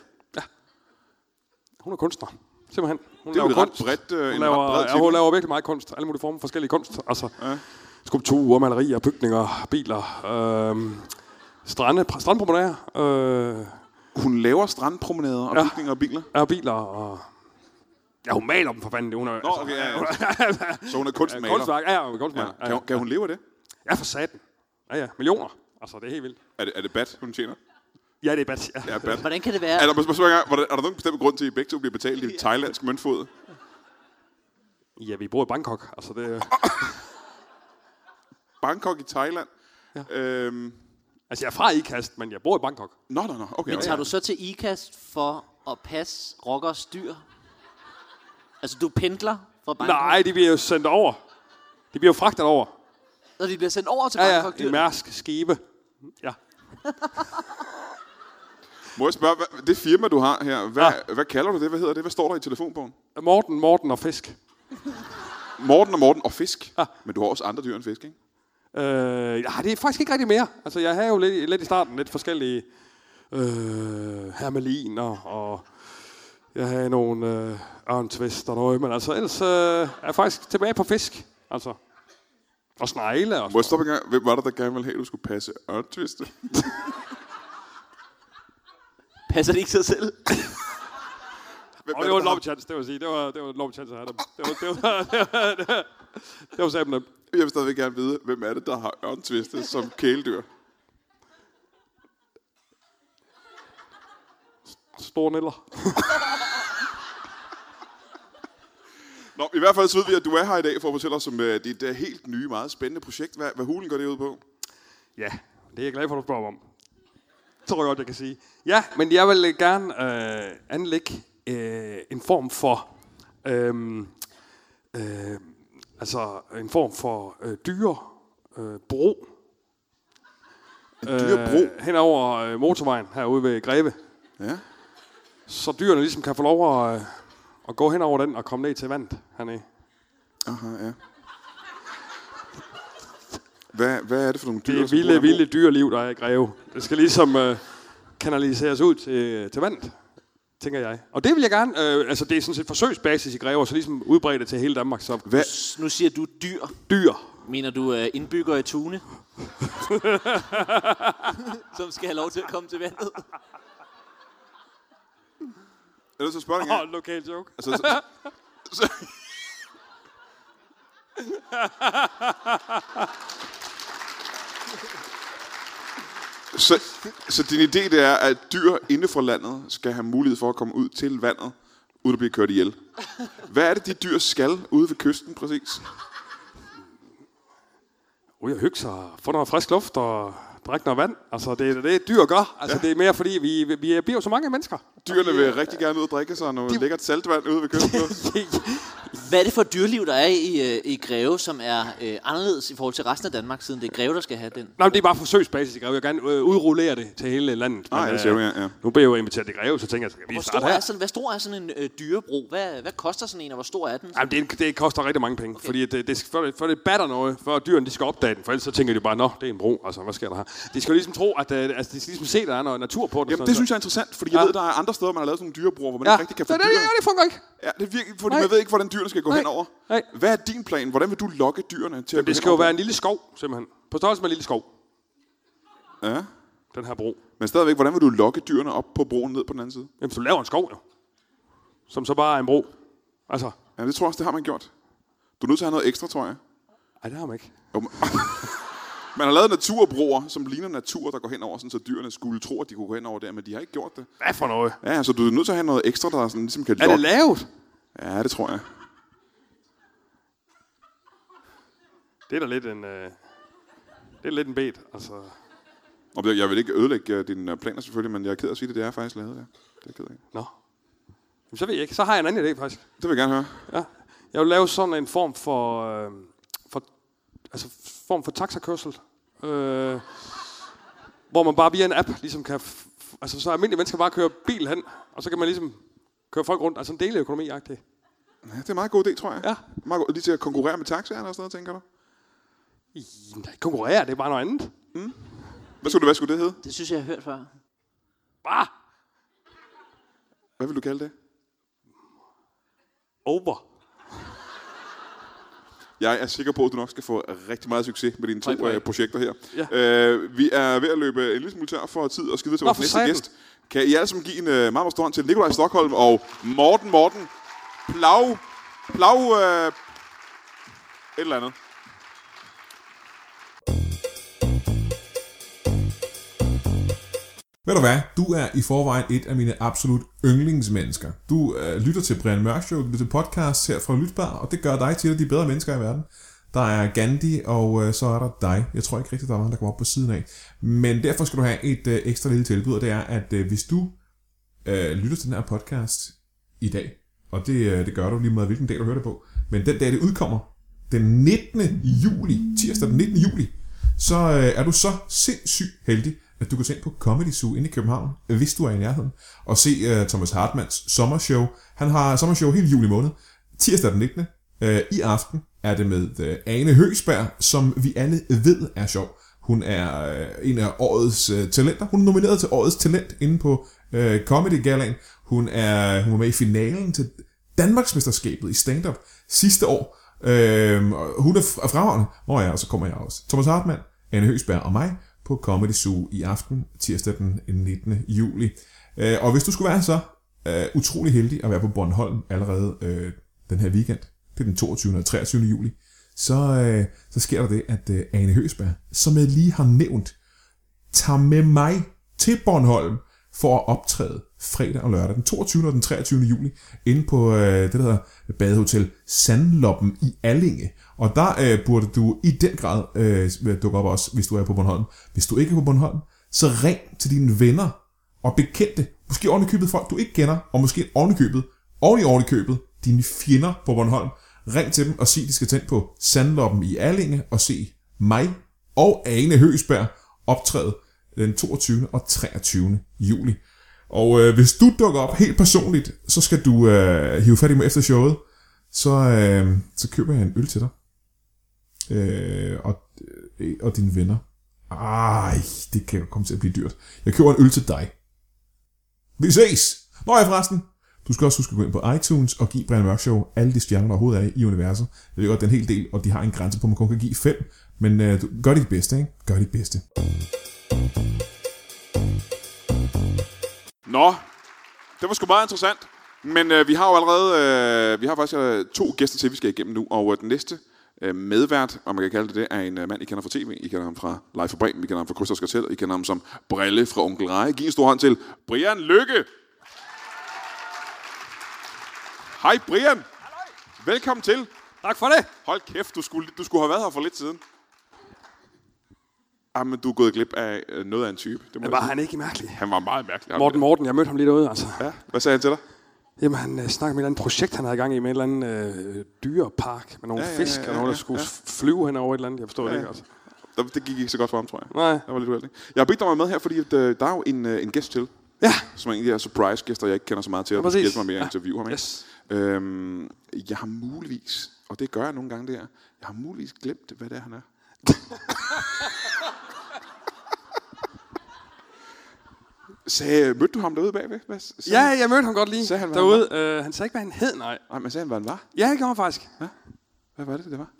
Speaker 4: Hun er kunstner. Simpelthen. Hun
Speaker 2: det er jo et
Speaker 4: laver
Speaker 2: ret
Speaker 4: kunst.
Speaker 2: bredt, øh,
Speaker 4: Hun
Speaker 2: en
Speaker 4: laver,
Speaker 2: ret bred
Speaker 4: ja, hun
Speaker 2: titel.
Speaker 4: laver virkelig meget kunst. Alle mulige former for forskellige kunst. Altså, ja. Skulpturer, malerier, bygninger, biler, øh, strande, pr- strandpromenader, øh,
Speaker 2: Hun laver strandpromenader og
Speaker 4: Ja.
Speaker 2: bygninger og biler.
Speaker 4: er biler og... Ja, hun maler dem for fanden. det Hun er, Nå,
Speaker 2: okay, ja, ja. Så hun er kunstmaler.
Speaker 4: Kunstværk, ja, ja, hun er
Speaker 2: Ja.
Speaker 4: kunstmaler. Ja,
Speaker 2: Kan, hun- kan hun leve af det?
Speaker 4: ja, for satan. Ja, ja, millioner. Altså, det er helt vildt.
Speaker 2: Er det, er det bat, hun tjener?
Speaker 4: Ja, det er bats. Ja.
Speaker 2: Ja, bat.
Speaker 3: Hvordan kan det være?
Speaker 2: Er der, spørg, er der, er der nogen bestemt grund til, at I begge to bliver betalt i thailandsk møntfod?
Speaker 4: ja, vi bor i Bangkok. Altså, det,
Speaker 2: Bangkok i Thailand? Ja. Øhm,
Speaker 4: altså, jeg er fra IKAST, men jeg bor i Bangkok.
Speaker 2: nå, nå, nå. Okay,
Speaker 3: Men
Speaker 2: okay.
Speaker 3: tager du så til IKAST for at passe rockers dyr? Altså, du pendler fra Bangkok,
Speaker 4: Nej, de bliver jo sendt over. De bliver jo fragtet over.
Speaker 3: og de bliver sendt over til
Speaker 4: Ja, ja,
Speaker 3: Bangkok
Speaker 4: i mærsk skibe. Ja.
Speaker 2: Må jeg spørge, hvad, det firma, du har her, hvad, ja.
Speaker 4: Ah.
Speaker 2: hvad kalder du det? Hvad hedder det? Hvad står der i telefonbogen?
Speaker 4: Morten, Morten og fisk.
Speaker 2: Morten og Morten og fisk.
Speaker 4: Ah.
Speaker 2: Ja. Men du har også andre dyr end fisk, ikke?
Speaker 4: Øh, ja, det er faktisk ikke rigtig mere. Altså, jeg havde jo lidt, lidt i starten lidt forskellige øh, hermeliner, og jeg havde nogle øh, ørntvist og noget, men altså, ellers øh, er jeg faktisk tilbage på fisk. Altså, og snegle og
Speaker 2: Må jeg stoppe en gang? Hvem var det, der gerne ville have, at du skulle passe ørntviste?
Speaker 3: Passer det ikke sig selv?
Speaker 2: Hvem
Speaker 4: Og det var en lomchance, det vil sige. Det var, det var en lomchance at have dem. Det var, det var, det var, det var, det var sammen dem.
Speaker 2: Jeg vil stadigvæk gerne vide, hvem er det, der har ørntviste som kæledyr?
Speaker 4: Store niller.
Speaker 2: Nå, i hvert fald så ved vi, at du er her i dag for at fortælle os om øh, dit øh, helt nye, meget spændende projekt. Hvad, hvad hulen går det ud på?
Speaker 4: Ja, det er jeg glad for, at du spørger om. Det tror jeg godt, jeg kan sige. Ja, men jeg vil gerne øh, anlægge øh, en form for... Øh, øh, altså en form for øh, dyre øh, bro
Speaker 2: En dyr bro?
Speaker 4: øh, hen over øh, motorvejen herude ved Greve.
Speaker 2: Ja.
Speaker 4: Så dyrene ligesom kan få lov at, øh, at gå hen over den og komme ned til vandet hernede.
Speaker 2: Aha, ja. Hvad, hvad er det for nogle dyr?
Speaker 4: Det er
Speaker 2: der skal bo
Speaker 4: vilde,
Speaker 2: der?
Speaker 4: vilde dyreliv, der er i Greve. Det skal ligesom øh, kanaliseres ud til, til vandet, tænker jeg. Og det vil jeg gerne. Øh, altså, det er sådan set forsøgsbasis i Greve, og så ligesom udbrede det til hele Danmark. Så
Speaker 2: Hvad?
Speaker 3: Nu siger du dyr.
Speaker 4: dyr.
Speaker 3: Mener du øh, indbyggere i [LAUGHS] Tune? Som skal have lov til at komme til vandet?
Speaker 2: Er du så spørge dig en
Speaker 4: Åh,
Speaker 2: gang?
Speaker 4: oh, lokal joke.
Speaker 2: Altså, så, så, så, så din idé det er, at dyr inde fra landet skal have mulighed for at komme ud til vandet, uden at blive kørt ihjel. Hvad er det, de dyr skal ude ved kysten præcis?
Speaker 4: Ryge og hygge sig, og få noget frisk luft og drikke noget vand. Altså, det er det, dyr gør. Altså, ja. det er mere fordi, vi, vi er vi er jo så mange mennesker.
Speaker 2: Dyrene vil rigtig gerne ud og drikke sig noget lækkert saltvand ude ved
Speaker 4: [LAUGHS]
Speaker 2: kysten.
Speaker 3: Hvad er det for et dyrliv, der er i, øh, i Greve, som er øh, anderledes i forhold til resten af Danmark, siden det er Greve, der skal have den?
Speaker 4: Nej, men det er bare forsøgsbasis i Greve. Jeg vil gerne øh, udrullere det til hele landet.
Speaker 2: Nej,
Speaker 4: Men, øh,
Speaker 2: det siger du, Ah, ja, ja.
Speaker 4: Nu bliver jeg jo inviteret til Greve, så tænker jeg, skal vi
Speaker 3: Hvor
Speaker 4: starte
Speaker 3: stor
Speaker 4: her?
Speaker 3: er sådan, hvad stor er sådan en øh, dyrebro? Hvad, hvad koster sådan en, og hvor stor er den?
Speaker 4: Jamen, det, er en- det koster rigtig mange penge, okay. fordi det, det, skal- før, det, før det batter noget, før dyrene de skal opdage den, for ellers så tænker de bare, nå, det er en bro, altså hvad sker der her? De skal jo ligesom tro, at øh, altså, de skal ligesom se, der er noget natur på den.
Speaker 2: Jamen,
Speaker 4: og sådan
Speaker 2: det
Speaker 4: noget.
Speaker 2: synes jeg er interessant, fordi jeg
Speaker 4: Ja.
Speaker 2: ved, der er andre steder, man har lavet sådan nogle dyrebroer, hvor man
Speaker 4: ja.
Speaker 2: ikke rigtig kan få
Speaker 4: det, det,
Speaker 2: dyr.
Speaker 4: ja, det fungerer ikke.
Speaker 2: Ja, det er virkelig, fordi
Speaker 4: Nej.
Speaker 2: man ved ikke, hvordan dyrene skal gå
Speaker 4: Nej.
Speaker 2: henover.
Speaker 4: Nej.
Speaker 2: Hvad er din plan? Hvordan vil du lokke dyrene til at
Speaker 4: Jamen,
Speaker 2: gå
Speaker 4: det skal jo
Speaker 2: henover?
Speaker 4: være en lille skov, simpelthen. På størrelse med en lille skov,
Speaker 2: Ja.
Speaker 4: den her bro.
Speaker 2: Men stadigvæk, hvordan vil du lokke dyrene op på broen ned på den anden side?
Speaker 4: Jamen, så laver en skov, jo. Som så bare er en bro. Altså,
Speaker 2: Ja, det tror jeg også, det har man gjort. Du er nødt til at have noget ekstra, tror jeg.
Speaker 4: ej, det har man ikke.
Speaker 2: Jo, men- [LAUGHS] Man har lavet naturbroer, som ligner natur, der går henover, sådan, så dyrene skulle tro, at de kunne gå henover der, men de har ikke gjort det.
Speaker 4: Hvad for noget?
Speaker 2: Ja, så du er nødt til at have noget ekstra, der sådan, ligesom kan
Speaker 4: Er det
Speaker 2: lokke.
Speaker 4: lavet?
Speaker 2: Ja, det tror jeg.
Speaker 4: Det er da lidt en... Øh, det er lidt en bed, altså.
Speaker 2: Og jeg- jeg vil ikke ødelægge øh, dine øh, planer selvfølgelig, men jeg er ked af at sige det, det er faktisk lavet, ja. Det er jeg ked af.
Speaker 4: Nå. Jamen, så ved jeg ikke. Så har jeg en anden idé, faktisk.
Speaker 2: Det vil jeg gerne høre.
Speaker 4: Ja. Jeg vil lave sådan en form for, øh, for altså form for taxakørsel, øh, hvor man bare via en app ligesom kan, f- f- altså så almindelige mennesker bare kører bil hen, og så kan man ligesom køre folk rundt, altså en deleøkonomi -agtig.
Speaker 2: Ja, det er en meget god idé, tror jeg.
Speaker 4: Ja.
Speaker 2: Meget god. Lige til at konkurrere med taxaerne og sådan noget, tænker du?
Speaker 4: I, nej, konkurrere, det er bare noget andet.
Speaker 2: Hvad skulle det, hvad skulle det hedde?
Speaker 3: Det synes jeg, jeg har hørt før.
Speaker 4: Bare
Speaker 2: Hvad vil du kalde det?
Speaker 4: over.
Speaker 2: Jeg er sikker på, at du nok skal få rigtig meget succes med dine to
Speaker 4: Tak for det.
Speaker 2: øh, projekter her.
Speaker 4: Ja.
Speaker 2: Øh, vi er ved at løbe en lille smule tør for tid og skal videre til
Speaker 4: Nå,
Speaker 2: vores
Speaker 4: for
Speaker 2: næste
Speaker 4: satan.
Speaker 2: gæst. Kan I alle sammen give en øh, meget, meget stor hånd til Nikolaj Stockholm og Morten Morten Plav... Plav... Øh, et eller andet.
Speaker 1: Ved du hvad? Du er i forvejen et af mine absolut yndlingsmennesker. Du øh, lytter til Brian Mørk Show, du lytter til podcasts her fra Lytbar, og det gør dig til et af de bedre mennesker i verden. Der er Gandhi, og øh, så er der dig. Jeg tror ikke rigtigt, der er nogen, der kommer op på siden af. Men derfor skal du have et øh, ekstra lille tilbud, og det er, at øh, hvis du øh, lytter til den her podcast i dag, og det, øh, det gør du lige meget, hvilken dag du hører det på, men den dag, det udkommer, den 19. juli, tirsdag den 19. juli, så øh, er du så sindssygt heldig, at du kan tage ind på Comedy Zoo inde i København, hvis du er i nærheden, og se øh, Thomas Hartmanns sommershow. Han har sommershow hele juli måned, tirsdag den 19. Øh, I aften er det med øh, Ane Høgsberg, som vi alle ved er sjov. Hun er øh, en af årets øh, talenter. Hun er nomineret til årets talent inde på øh, Comedy Galaen. Hun er hun var med i finalen til Danmarksmesterskabet i stand-up sidste år. Øh, og hun er fr- fremragende. Nå ja, og så kommer jeg også. Thomas Hartmann, Anne Høgsberg og mig på Comedy Zoo i aften, tirsdag den 19. juli. Øh, og hvis du skulle være så øh, utrolig heldig at være på Bornholm allerede øh, den her weekend. Det er den 22. og 23. juli. Så, øh, så sker der det, at øh, Ane Høsberg, som jeg lige har nævnt, tager med mig til Bornholm for at optræde fredag og lørdag, den 22. og den 23. juli, inde på øh, det, der hedder Badehotel Sandloppen i Allinge. Og der øh, burde du i den grad øh, dukke op også, hvis du er på Bornholm. Hvis du ikke er på Bornholm, så ring til dine venner og bekendte, måske ovenikøbet folk, du ikke kender, og måske ovenikøbet, oven i ovenikøbet, dine fjender på Bornholm. Ring til dem og sig, de skal tænde på Sandloppen i Allinge og se mig og Ane Høsberg optræde den 22. og 23. juli. Og øh, hvis du dukker op helt personligt, så skal du øh, hive fat i mig efter showet, så, øh, så køber jeg en øl til dig. Øh, og, øh, og dine venner. Ej, det kan jo komme til at blive dyrt. Jeg køber en øl til dig. Vi ses! Nå ja, forresten. Du skal også huske at gå ind på iTunes og give Brian Mørk Show alle de stjerner, der overhovedet er i universet. Jeg ved godt, det er en hel del, og de har en grænse på, at man kun kan give fem. Men øh, du, gør dit bedste, ikke? Gør dit bedste.
Speaker 2: Nå, det var sgu meget interessant. Men øh, vi har jo allerede, øh, vi har faktisk øh, to gæster til, vi skal igennem nu. Og øh, den næste øh, medvært, om man kan kalde det det, er en øh, mand, I kender fra tv. I kender ham fra Live for Bremen, I kender ham fra Krysters Kartel, I kender ham som Brille fra Onkel Reje. Giv en stor hånd til Brian Lykke. Hej Brian. Velkommen til.
Speaker 4: Tak for det.
Speaker 2: Hold kæft, du skulle, du skulle have været her for lidt siden. Jamen, du er gået glip af øh, noget af en type. Det må jeg
Speaker 4: Var
Speaker 2: sige.
Speaker 4: han ikke mærkelig?
Speaker 2: han var meget mærkelig. ham
Speaker 4: Morten Morten, jeg mødte ham lige derude, altså.
Speaker 2: der. Ja, hvad sagde han til dig?
Speaker 4: Jamen, han øh, snakkede om et eller andet projekt, han havde gang i med en eller anden øh, dyrepark med nogle
Speaker 2: Ja,
Speaker 4: ja,
Speaker 2: ja,
Speaker 4: fisk,
Speaker 2: ja,
Speaker 4: ja,
Speaker 2: ja,
Speaker 4: ja, og nogen, der
Speaker 2: ja,
Speaker 4: skulle
Speaker 2: ja.
Speaker 4: ja. flyve hen over et eller andet. Jeg forstod ja, det ikke, altså.
Speaker 2: Der- Det gik ikke så godt for ham, tror jeg.
Speaker 4: Nej.
Speaker 2: Jeg var lidt uheldig. Jeg har bedt dig om at være med her, fordi at, øh, der er jo en, øh, en gæst til,
Speaker 4: Ja.
Speaker 2: som egentlig er surprise-gæster, jeg ikke kender så meget til, og du skal
Speaker 4: præcis.
Speaker 2: hjælpe mig med at
Speaker 4: Ja.
Speaker 2: interviewe ham. Ikke?
Speaker 4: Yes.
Speaker 2: Øhm, jeg har muligvis, og det gør jeg nogle gange der, jeg har muligvis glemt, hvad det er, han er.
Speaker 4: [LAUGHS]
Speaker 2: Sagde, mødte du ham derude bagved? Hvad, s- sagde
Speaker 4: Ja,
Speaker 2: han?
Speaker 4: jeg mødte ham godt lige
Speaker 2: Sagde han, hvad
Speaker 4: derude. Øh, Han, han sagde ikke, hvad han hed, nej.
Speaker 2: Nej, men sagde han, hvad han var?
Speaker 4: Ja, det gjorde han faktisk.
Speaker 2: Hvad var det, det var?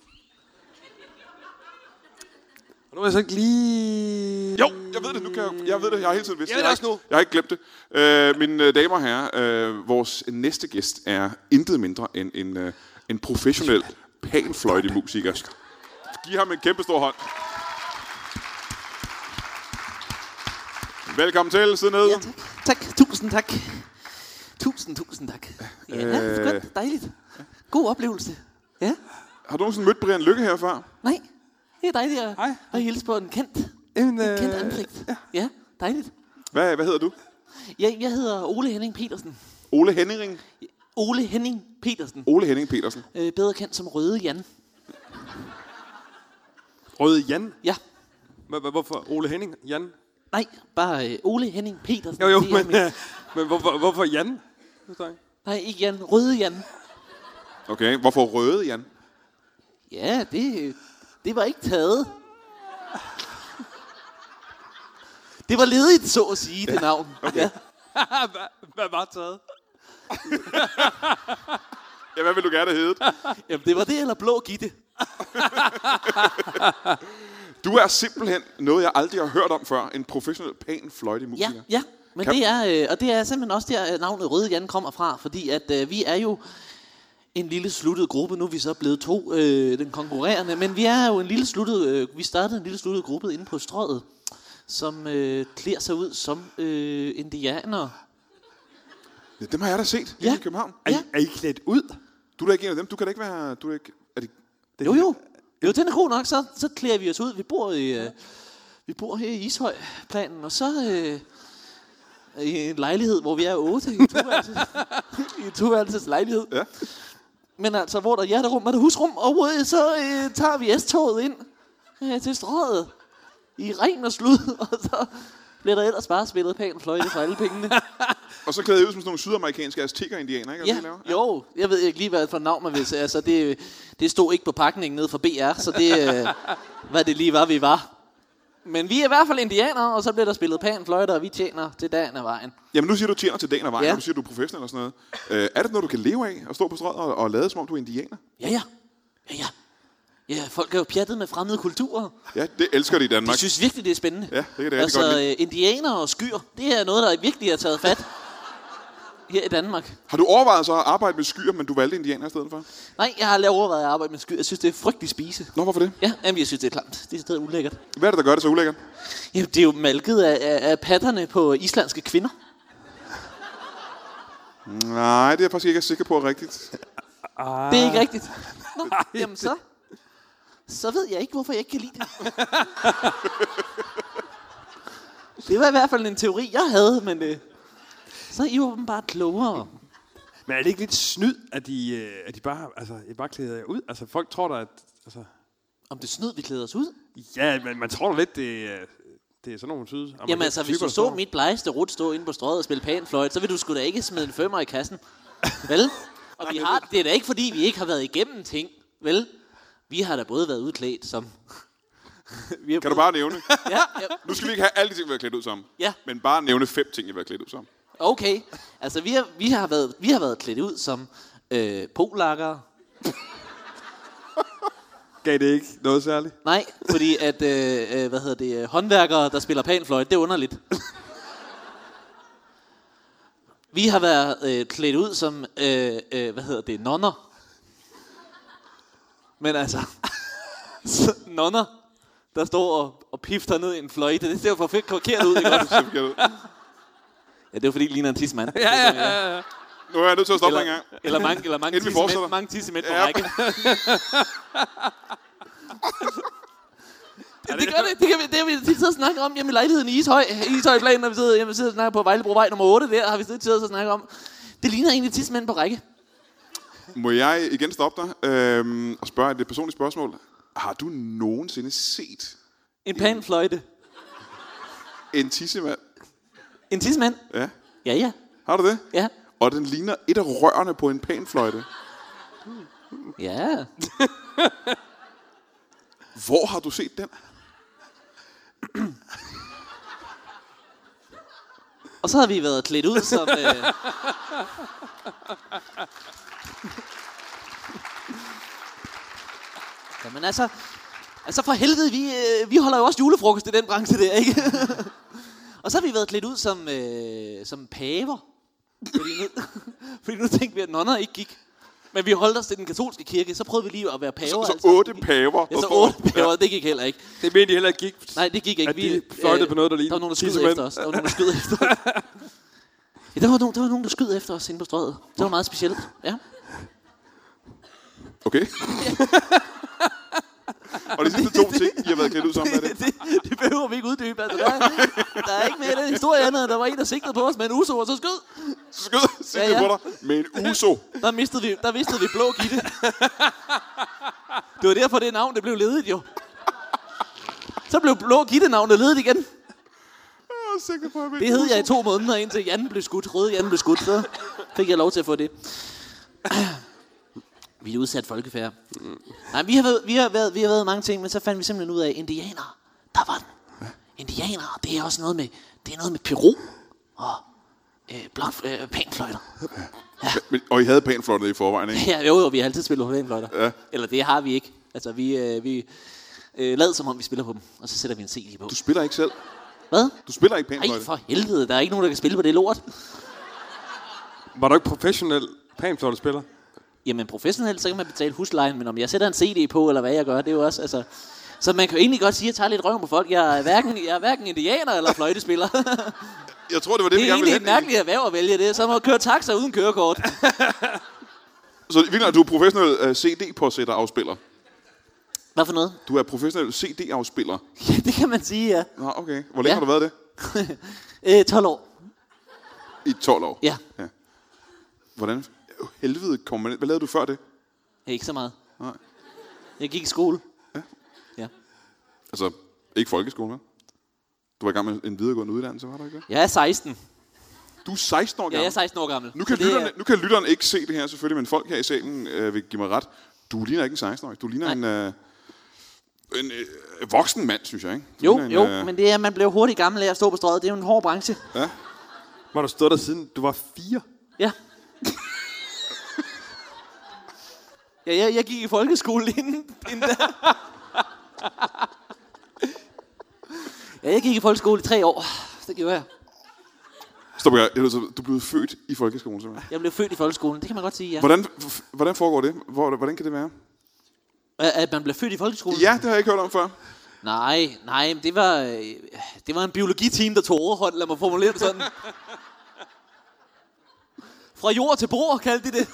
Speaker 4: Og nu er jeg så ikke lige...
Speaker 2: Jo, jeg ved det nu. Kan jeg, jeg ved det. Jeg har hele tiden vidst
Speaker 4: Jeg ved
Speaker 2: har
Speaker 4: det også
Speaker 2: ikke- Jeg har ikke glemt det. Øh, mine øh, damer og herrer, øh, vores næste gæst er intet mindre end en, øh, en professionel panfløjtemusiker. Giv ham en kæmpe stor hånd. Velkommen til. Sid ned.
Speaker 3: Ja, tak. tak. Tusind tak. Tusind, tusind tak. Ja, øh... godt. Dejligt. God oplevelse. Ja.
Speaker 2: Har du nogensinde mødt Brian Lykke her før?
Speaker 3: Nej. Det er dejligt at,
Speaker 4: Hej.
Speaker 3: at hilse på en kendt,
Speaker 4: Jamen,
Speaker 3: en kendt
Speaker 4: øh,
Speaker 3: ansigt. Ja. ja, dejligt.
Speaker 2: Hvad, hvad hedder du?
Speaker 3: Jeg, jeg hedder Ole Henning Petersen.
Speaker 2: Ole Henning.
Speaker 3: Ole Henning Petersen.
Speaker 2: Ole Henning Petersen.
Speaker 3: Øh, bedre kendt som Røde Jan.
Speaker 4: Røde Jan.
Speaker 3: Ja.
Speaker 4: Hva- hva- Hvorfor? Ole Henning? Jan?
Speaker 3: Nej, bare øh, Ole Henning Petersen.
Speaker 4: Jo, jo,
Speaker 3: Det er
Speaker 4: men,
Speaker 3: mit-
Speaker 4: øh, men hvorfor, hvorfor Jan? Forstår jeg ikke.
Speaker 3: Nej, ikke Jan. Røde Jan.
Speaker 2: Okay, hvorfor røde, Jan?
Speaker 3: Ja, det, øh, det var ikke taget. Det var ledigt, så at sige, det navn. Okay. Ja.
Speaker 4: [LAUGHS] Hva- Hvad var taget?
Speaker 2: Ja, hvad vil du gerne
Speaker 3: [LAUGHS]
Speaker 2: hedde?
Speaker 3: Jamen, det var det eller blå gitte.
Speaker 2: Du er simpelthen noget, jeg aldrig har hørt om før. En professionel panfløjtemusiker.
Speaker 3: Ja, ja. Men
Speaker 2: Kan-
Speaker 3: det er, øh, og det er simpelthen også der, øh, navnet Røde Jan kommer fra, fordi at øh, vi er jo en lille sluttet gruppe. Nu er vi så blevet to, øh, den konkurrerende. Men vi er jo en lille sluttet, øh, vi startede en lille sluttet gruppe inde på strøget, som øh, klæder sig ud som øh, indianere.
Speaker 2: Ja, dem har jeg da set ja.
Speaker 3: Ja.
Speaker 2: i København.
Speaker 4: Er,
Speaker 3: Ja.
Speaker 4: I, er I klædt ud?
Speaker 2: Du er da ikke en af dem. Du kan da ikke være... Du er da ikke, er det,
Speaker 3: Jo, jo. Jo, den er god nok. Så, så klæder vi os ud. Vi bor, i, øh, vi bor her i Ishøjplanen, og så øh, i en lejlighed, hvor vi er otte i en toværelses,
Speaker 2: [LAUGHS]
Speaker 3: i en toværelses lejlighed.
Speaker 2: Ja.
Speaker 3: Men altså, hvor der er hjerterum, er der husrum, og øh, så øh, tager vi S-toget ind øh, til strøget i regn og slud, [LAUGHS] og så bliver der ellers bare spillet pæn fløjte for alle pengene.
Speaker 2: og så klæder jeg ud som sådan nogle sydamerikanske azteker-indianer, ikke? Er det,
Speaker 3: Ja,
Speaker 2: det, I laver?
Speaker 3: jo, jeg ved ikke lige, hvad for navn man vil sige. Altså, det, det stod ikke på pakningen nede fra BR, så det, øh, hvad det lige var, vi var. Men vi er i hvert fald indianere, og så bliver der spillet pan fløjter, og vi tjener til dagen af vejen.
Speaker 2: Jamen nu siger du du tjener til dagen og vejen, ja.
Speaker 3: Ja.
Speaker 2: og du siger, du er professionel og sådan noget. Øh, er det noget, du kan leve af at stå på strøget og, og lade som om, du er indianer?
Speaker 3: Ja, ja. Ja, ja. Ja, folk er jo pjattet med fremmede kulturer.
Speaker 2: Ja, det elsker de i Danmark.
Speaker 3: Jeg synes virkelig, det er spændende.
Speaker 2: Ja, det kan det rigtig
Speaker 3: Altså,
Speaker 2: godt lide.
Speaker 3: øh, indianere og skyer, det er noget, der virkelig har taget fat her i Danmark.
Speaker 2: Har du overvejet så at arbejde med skyer, men du valgte indianer i stedet for?
Speaker 3: Nej, jeg har aldrig overvejet at arbejde med skyer. Jeg synes, det er frygtelig spise.
Speaker 2: Nå, hvorfor det?
Speaker 3: Ja, jamen, jeg synes, det er klamt. Det er stadig ulækkert.
Speaker 2: Hvad er det, der gør det så ulækkert?
Speaker 3: Jamen, det er jo malket af, af, af patterne på islandske kvinder.
Speaker 2: Nej, det er jeg faktisk ikke er sikker på er rigtigt.
Speaker 3: Det er ikke rigtigt. Nå, jamen så... Så ved jeg ikke, hvorfor jeg ikke kan lide [LAUGHS] det. det var i hvert fald en teori, jeg havde, men... Øh, så er I åbenbart klogere.
Speaker 4: Men er det ikke lidt snyd, at de, øh, at de bare, altså, I bare klæder jer ud? Altså, folk tror da, at... Altså,
Speaker 3: Om det er snyd, vi klæder os ud?
Speaker 4: ja, men man tror da lidt, det, er- det er sådan nogle syde.
Speaker 3: Jamen altså, hvis du så mit blegeste rut stå inde på strøget og spille panfløjt, så vil du sgu da ikke smide en femmer i kassen. Vel? Og vi har, det er da ikke, fordi vi ikke har været igennem ting. Vel? Vi har da både været udklædt som... vi har
Speaker 2: Kan du
Speaker 3: både-
Speaker 2: bare nævne?
Speaker 3: Ja, ja,
Speaker 2: Nu skal vi ikke have alle de ting, vi har klædt ud sammen.
Speaker 3: Ja.
Speaker 2: Men bare nævne fem ting, jeg har klædt ud sammen.
Speaker 3: okay. Altså, vi har, vi har, været, vi har været klædt ud som øh, polakker.
Speaker 4: Gav det ikke noget særligt?
Speaker 3: Nej, fordi at, øh, øh, hvad hedder det, øh, håndværkere, der spiller panfløjt, det er underligt. Vi har været øh, klædt ud som, øh, øh, hvad hedder det, nonner. Men altså, [LAUGHS] så nonner, der står og, og pifter ned i en fløjte, det ser jo for fedt kokeret ud, ikke også?
Speaker 2: Så vi kan-
Speaker 3: Ja, det er jo fordi, det ligner en tissemand.
Speaker 2: Nu er jeg nødt til at stoppe en
Speaker 3: Eller,
Speaker 2: gang.
Speaker 3: eller mange, eller mange
Speaker 2: Inden vi fortsætter.
Speaker 3: tissemænd, mange tissemænd på
Speaker 2: Ja. [LAUGHS]
Speaker 3: række. det, det gør det. Det, kan vi, det har vi tit siddet og snakket om hjemme i lejligheden i Ishøj. Ishøjplanen, når vi sidder, hjemme, sidder og snakker på Vejlebrovej nummer 8. Der har vi siddet og snakket om. Det ligner egentlig tissemænd på række.
Speaker 2: Må jeg igen stoppe dig øhm, og spørge et lidt personligt spørgsmål? Har du nogensinde set
Speaker 3: En panfløjte.
Speaker 2: en tissemand?
Speaker 3: En tissemand?
Speaker 2: Ja.
Speaker 3: Ja, ja.
Speaker 2: Har du det?
Speaker 3: Ja.
Speaker 2: Og den ligner et af rørene på en panfløjte.
Speaker 3: Ja.
Speaker 2: Hvor har du set den?
Speaker 3: Og så har vi været klædt ud som... Øh... Jamen altså... Altså for helvede, vi, øh, vi holder jo også julefrokost i den branche der, ikke? og så har vi været klædt ud som, øh, som paver. Fordi nu, fordi nu tænkte vi, at nonner ikke gik. Men vi holdt os til den katolske kirke, så prøvede vi lige at være paver.
Speaker 2: Så
Speaker 3: altså.
Speaker 2: otte paver.
Speaker 3: Ja, så otte paver, det gik heller ikke.
Speaker 4: Det mente de heller ikke gik.
Speaker 3: Nej, det gik ikke. øh,
Speaker 4: At de fløjtede på noget, der lignede
Speaker 3: Der var nogen, der skød
Speaker 4: tissemænd.
Speaker 3: efter os. Der var nogen, der skød efter os. Ja, der var, nogen, der var nogen, der skød efter os inde på strøget. Det var meget specielt. Ja.
Speaker 2: Okay. og de sidste
Speaker 3: [LAUGHS]
Speaker 2: to ting, I har været klædt ud sammen, er det?
Speaker 3: det, [LAUGHS] det behøver vi ikke uddybe. Altså, der, er, der er ikke mere i den historie andet, end der var en, der sigtede på os med en uso, og så skød.
Speaker 2: Så [LAUGHS] skød sig
Speaker 3: Ja, ja.
Speaker 2: på dig med en
Speaker 3: [LAUGHS]
Speaker 2: uso.
Speaker 3: Der mistede vi, der mistede vi blå gitte. Det var derfor, det navn det blev ledigt jo. Så blev blå gitte-navnet ledet igen.
Speaker 2: Jeg er sikker på, at
Speaker 3: Det hed jeg i to måneder, indtil Jan blev skudt. Røde Jan blev skudt, så fik jeg lov til at få det. [CLEARS THROAT] Vi er udsat folkefærd. Nej, vi har, været, vi, har været, vi har været mange ting, men så fandt vi simpelthen ud af, indianer, der var den. Indianer, det er også noget med, det er noget med Peru og øh, blok, øh, panfløjter. [LAUGHS]
Speaker 2: Men, og I havde panflottet i forvejen, ikke?
Speaker 3: Ja, jo, jo, vi har altid spillet på panfløjter. Ja. Eller det har vi ikke. Altså, vi, øh, vi øh, lad som om, vi spiller på dem, og så sætter vi en CD på.
Speaker 2: Du spiller ikke selv.
Speaker 3: Hvad?
Speaker 2: Du spiller ikke
Speaker 3: Nej,
Speaker 2: panfløjte.
Speaker 3: for helvede, der er ikke nogen, der kan spille på det lort.
Speaker 4: Var du ikke professionel panfløjtespiller?
Speaker 3: Jamen professionelt, så kan man betale huslejen, men om jeg sætter en CD på, eller hvad jeg gør, det er jo også, altså... Så man kan jo egentlig godt sige, at jeg tager lidt røven på folk. Jeg er hverken, jeg er hverken indianer eller fløjtespiller. det
Speaker 2: Jeg tror, det var det, vi
Speaker 3: er
Speaker 2: gerne ville
Speaker 3: egentlig et
Speaker 2: hen.
Speaker 3: mærkeligt erhverv at vælge det. Så må køre taxa uden kørekort.
Speaker 2: Så Vilner, du er professionel uh, CD-påsætter-afspiller.
Speaker 3: Hvad for noget?
Speaker 2: Du er professionel CD-afspiller.
Speaker 3: Ja, det kan man sige, ja.
Speaker 2: Nå, okay. Hvor længe
Speaker 3: Ja.
Speaker 2: har du været det?
Speaker 3: Øh, 12 år.
Speaker 2: I 12 år.
Speaker 3: Ja,
Speaker 2: Hvordan helvede kom man ind? Hvad lavede du før det?
Speaker 3: ikke så meget.
Speaker 2: Nej.
Speaker 3: Jeg gik i skole. Ja.
Speaker 2: Altså, ikke folkeskolen, vel? Du var i gang med en videregående uddannelse, var der ikke det?
Speaker 3: Jeg er 16.
Speaker 2: Du er 16 år
Speaker 3: Ja,
Speaker 2: gammel.
Speaker 3: jeg er 16 år gammel.
Speaker 2: Nu kan,
Speaker 3: Så det er-
Speaker 2: lytterne, nu kan lytteren ikke se det her selvfølgelig, men folk her i salen øh, vil give mig ret. Du ligner ikke en 16-årig. Du ligner en, øh, en øh, voksen mand, synes jeg. Ikke? Du
Speaker 3: Jo,
Speaker 2: ligner en, øh,
Speaker 3: jo, men det er, at man bliver hurtigt gammel af at stå på strøget. Det er jo en hård branche.
Speaker 4: Var du stået der siden du var fire?
Speaker 3: Ja. ja, jeg, jeg gik i folkeskole inden, inden der. ja, jeg gik i folkeskole i tre år. Det gjorde jeg.
Speaker 2: Stop, jeg, jeg, er nødt til at- du er blevet født i folkeskolen, simpelthen.
Speaker 3: Jeg blev født i folkeskolen, det kan man godt sige, ja.
Speaker 2: Hvordan, hvordan foregår det? Hvor, hvordan kan det være?
Speaker 3: At at man blev født i folkeskolen?
Speaker 2: Ja, det har jeg ikke hørt om før.
Speaker 3: Nej, nej, men det var, øh, det var en biologiteam, der tog overhånd, lad mig formulere det sådan. Fra jord til bord, kaldte de det.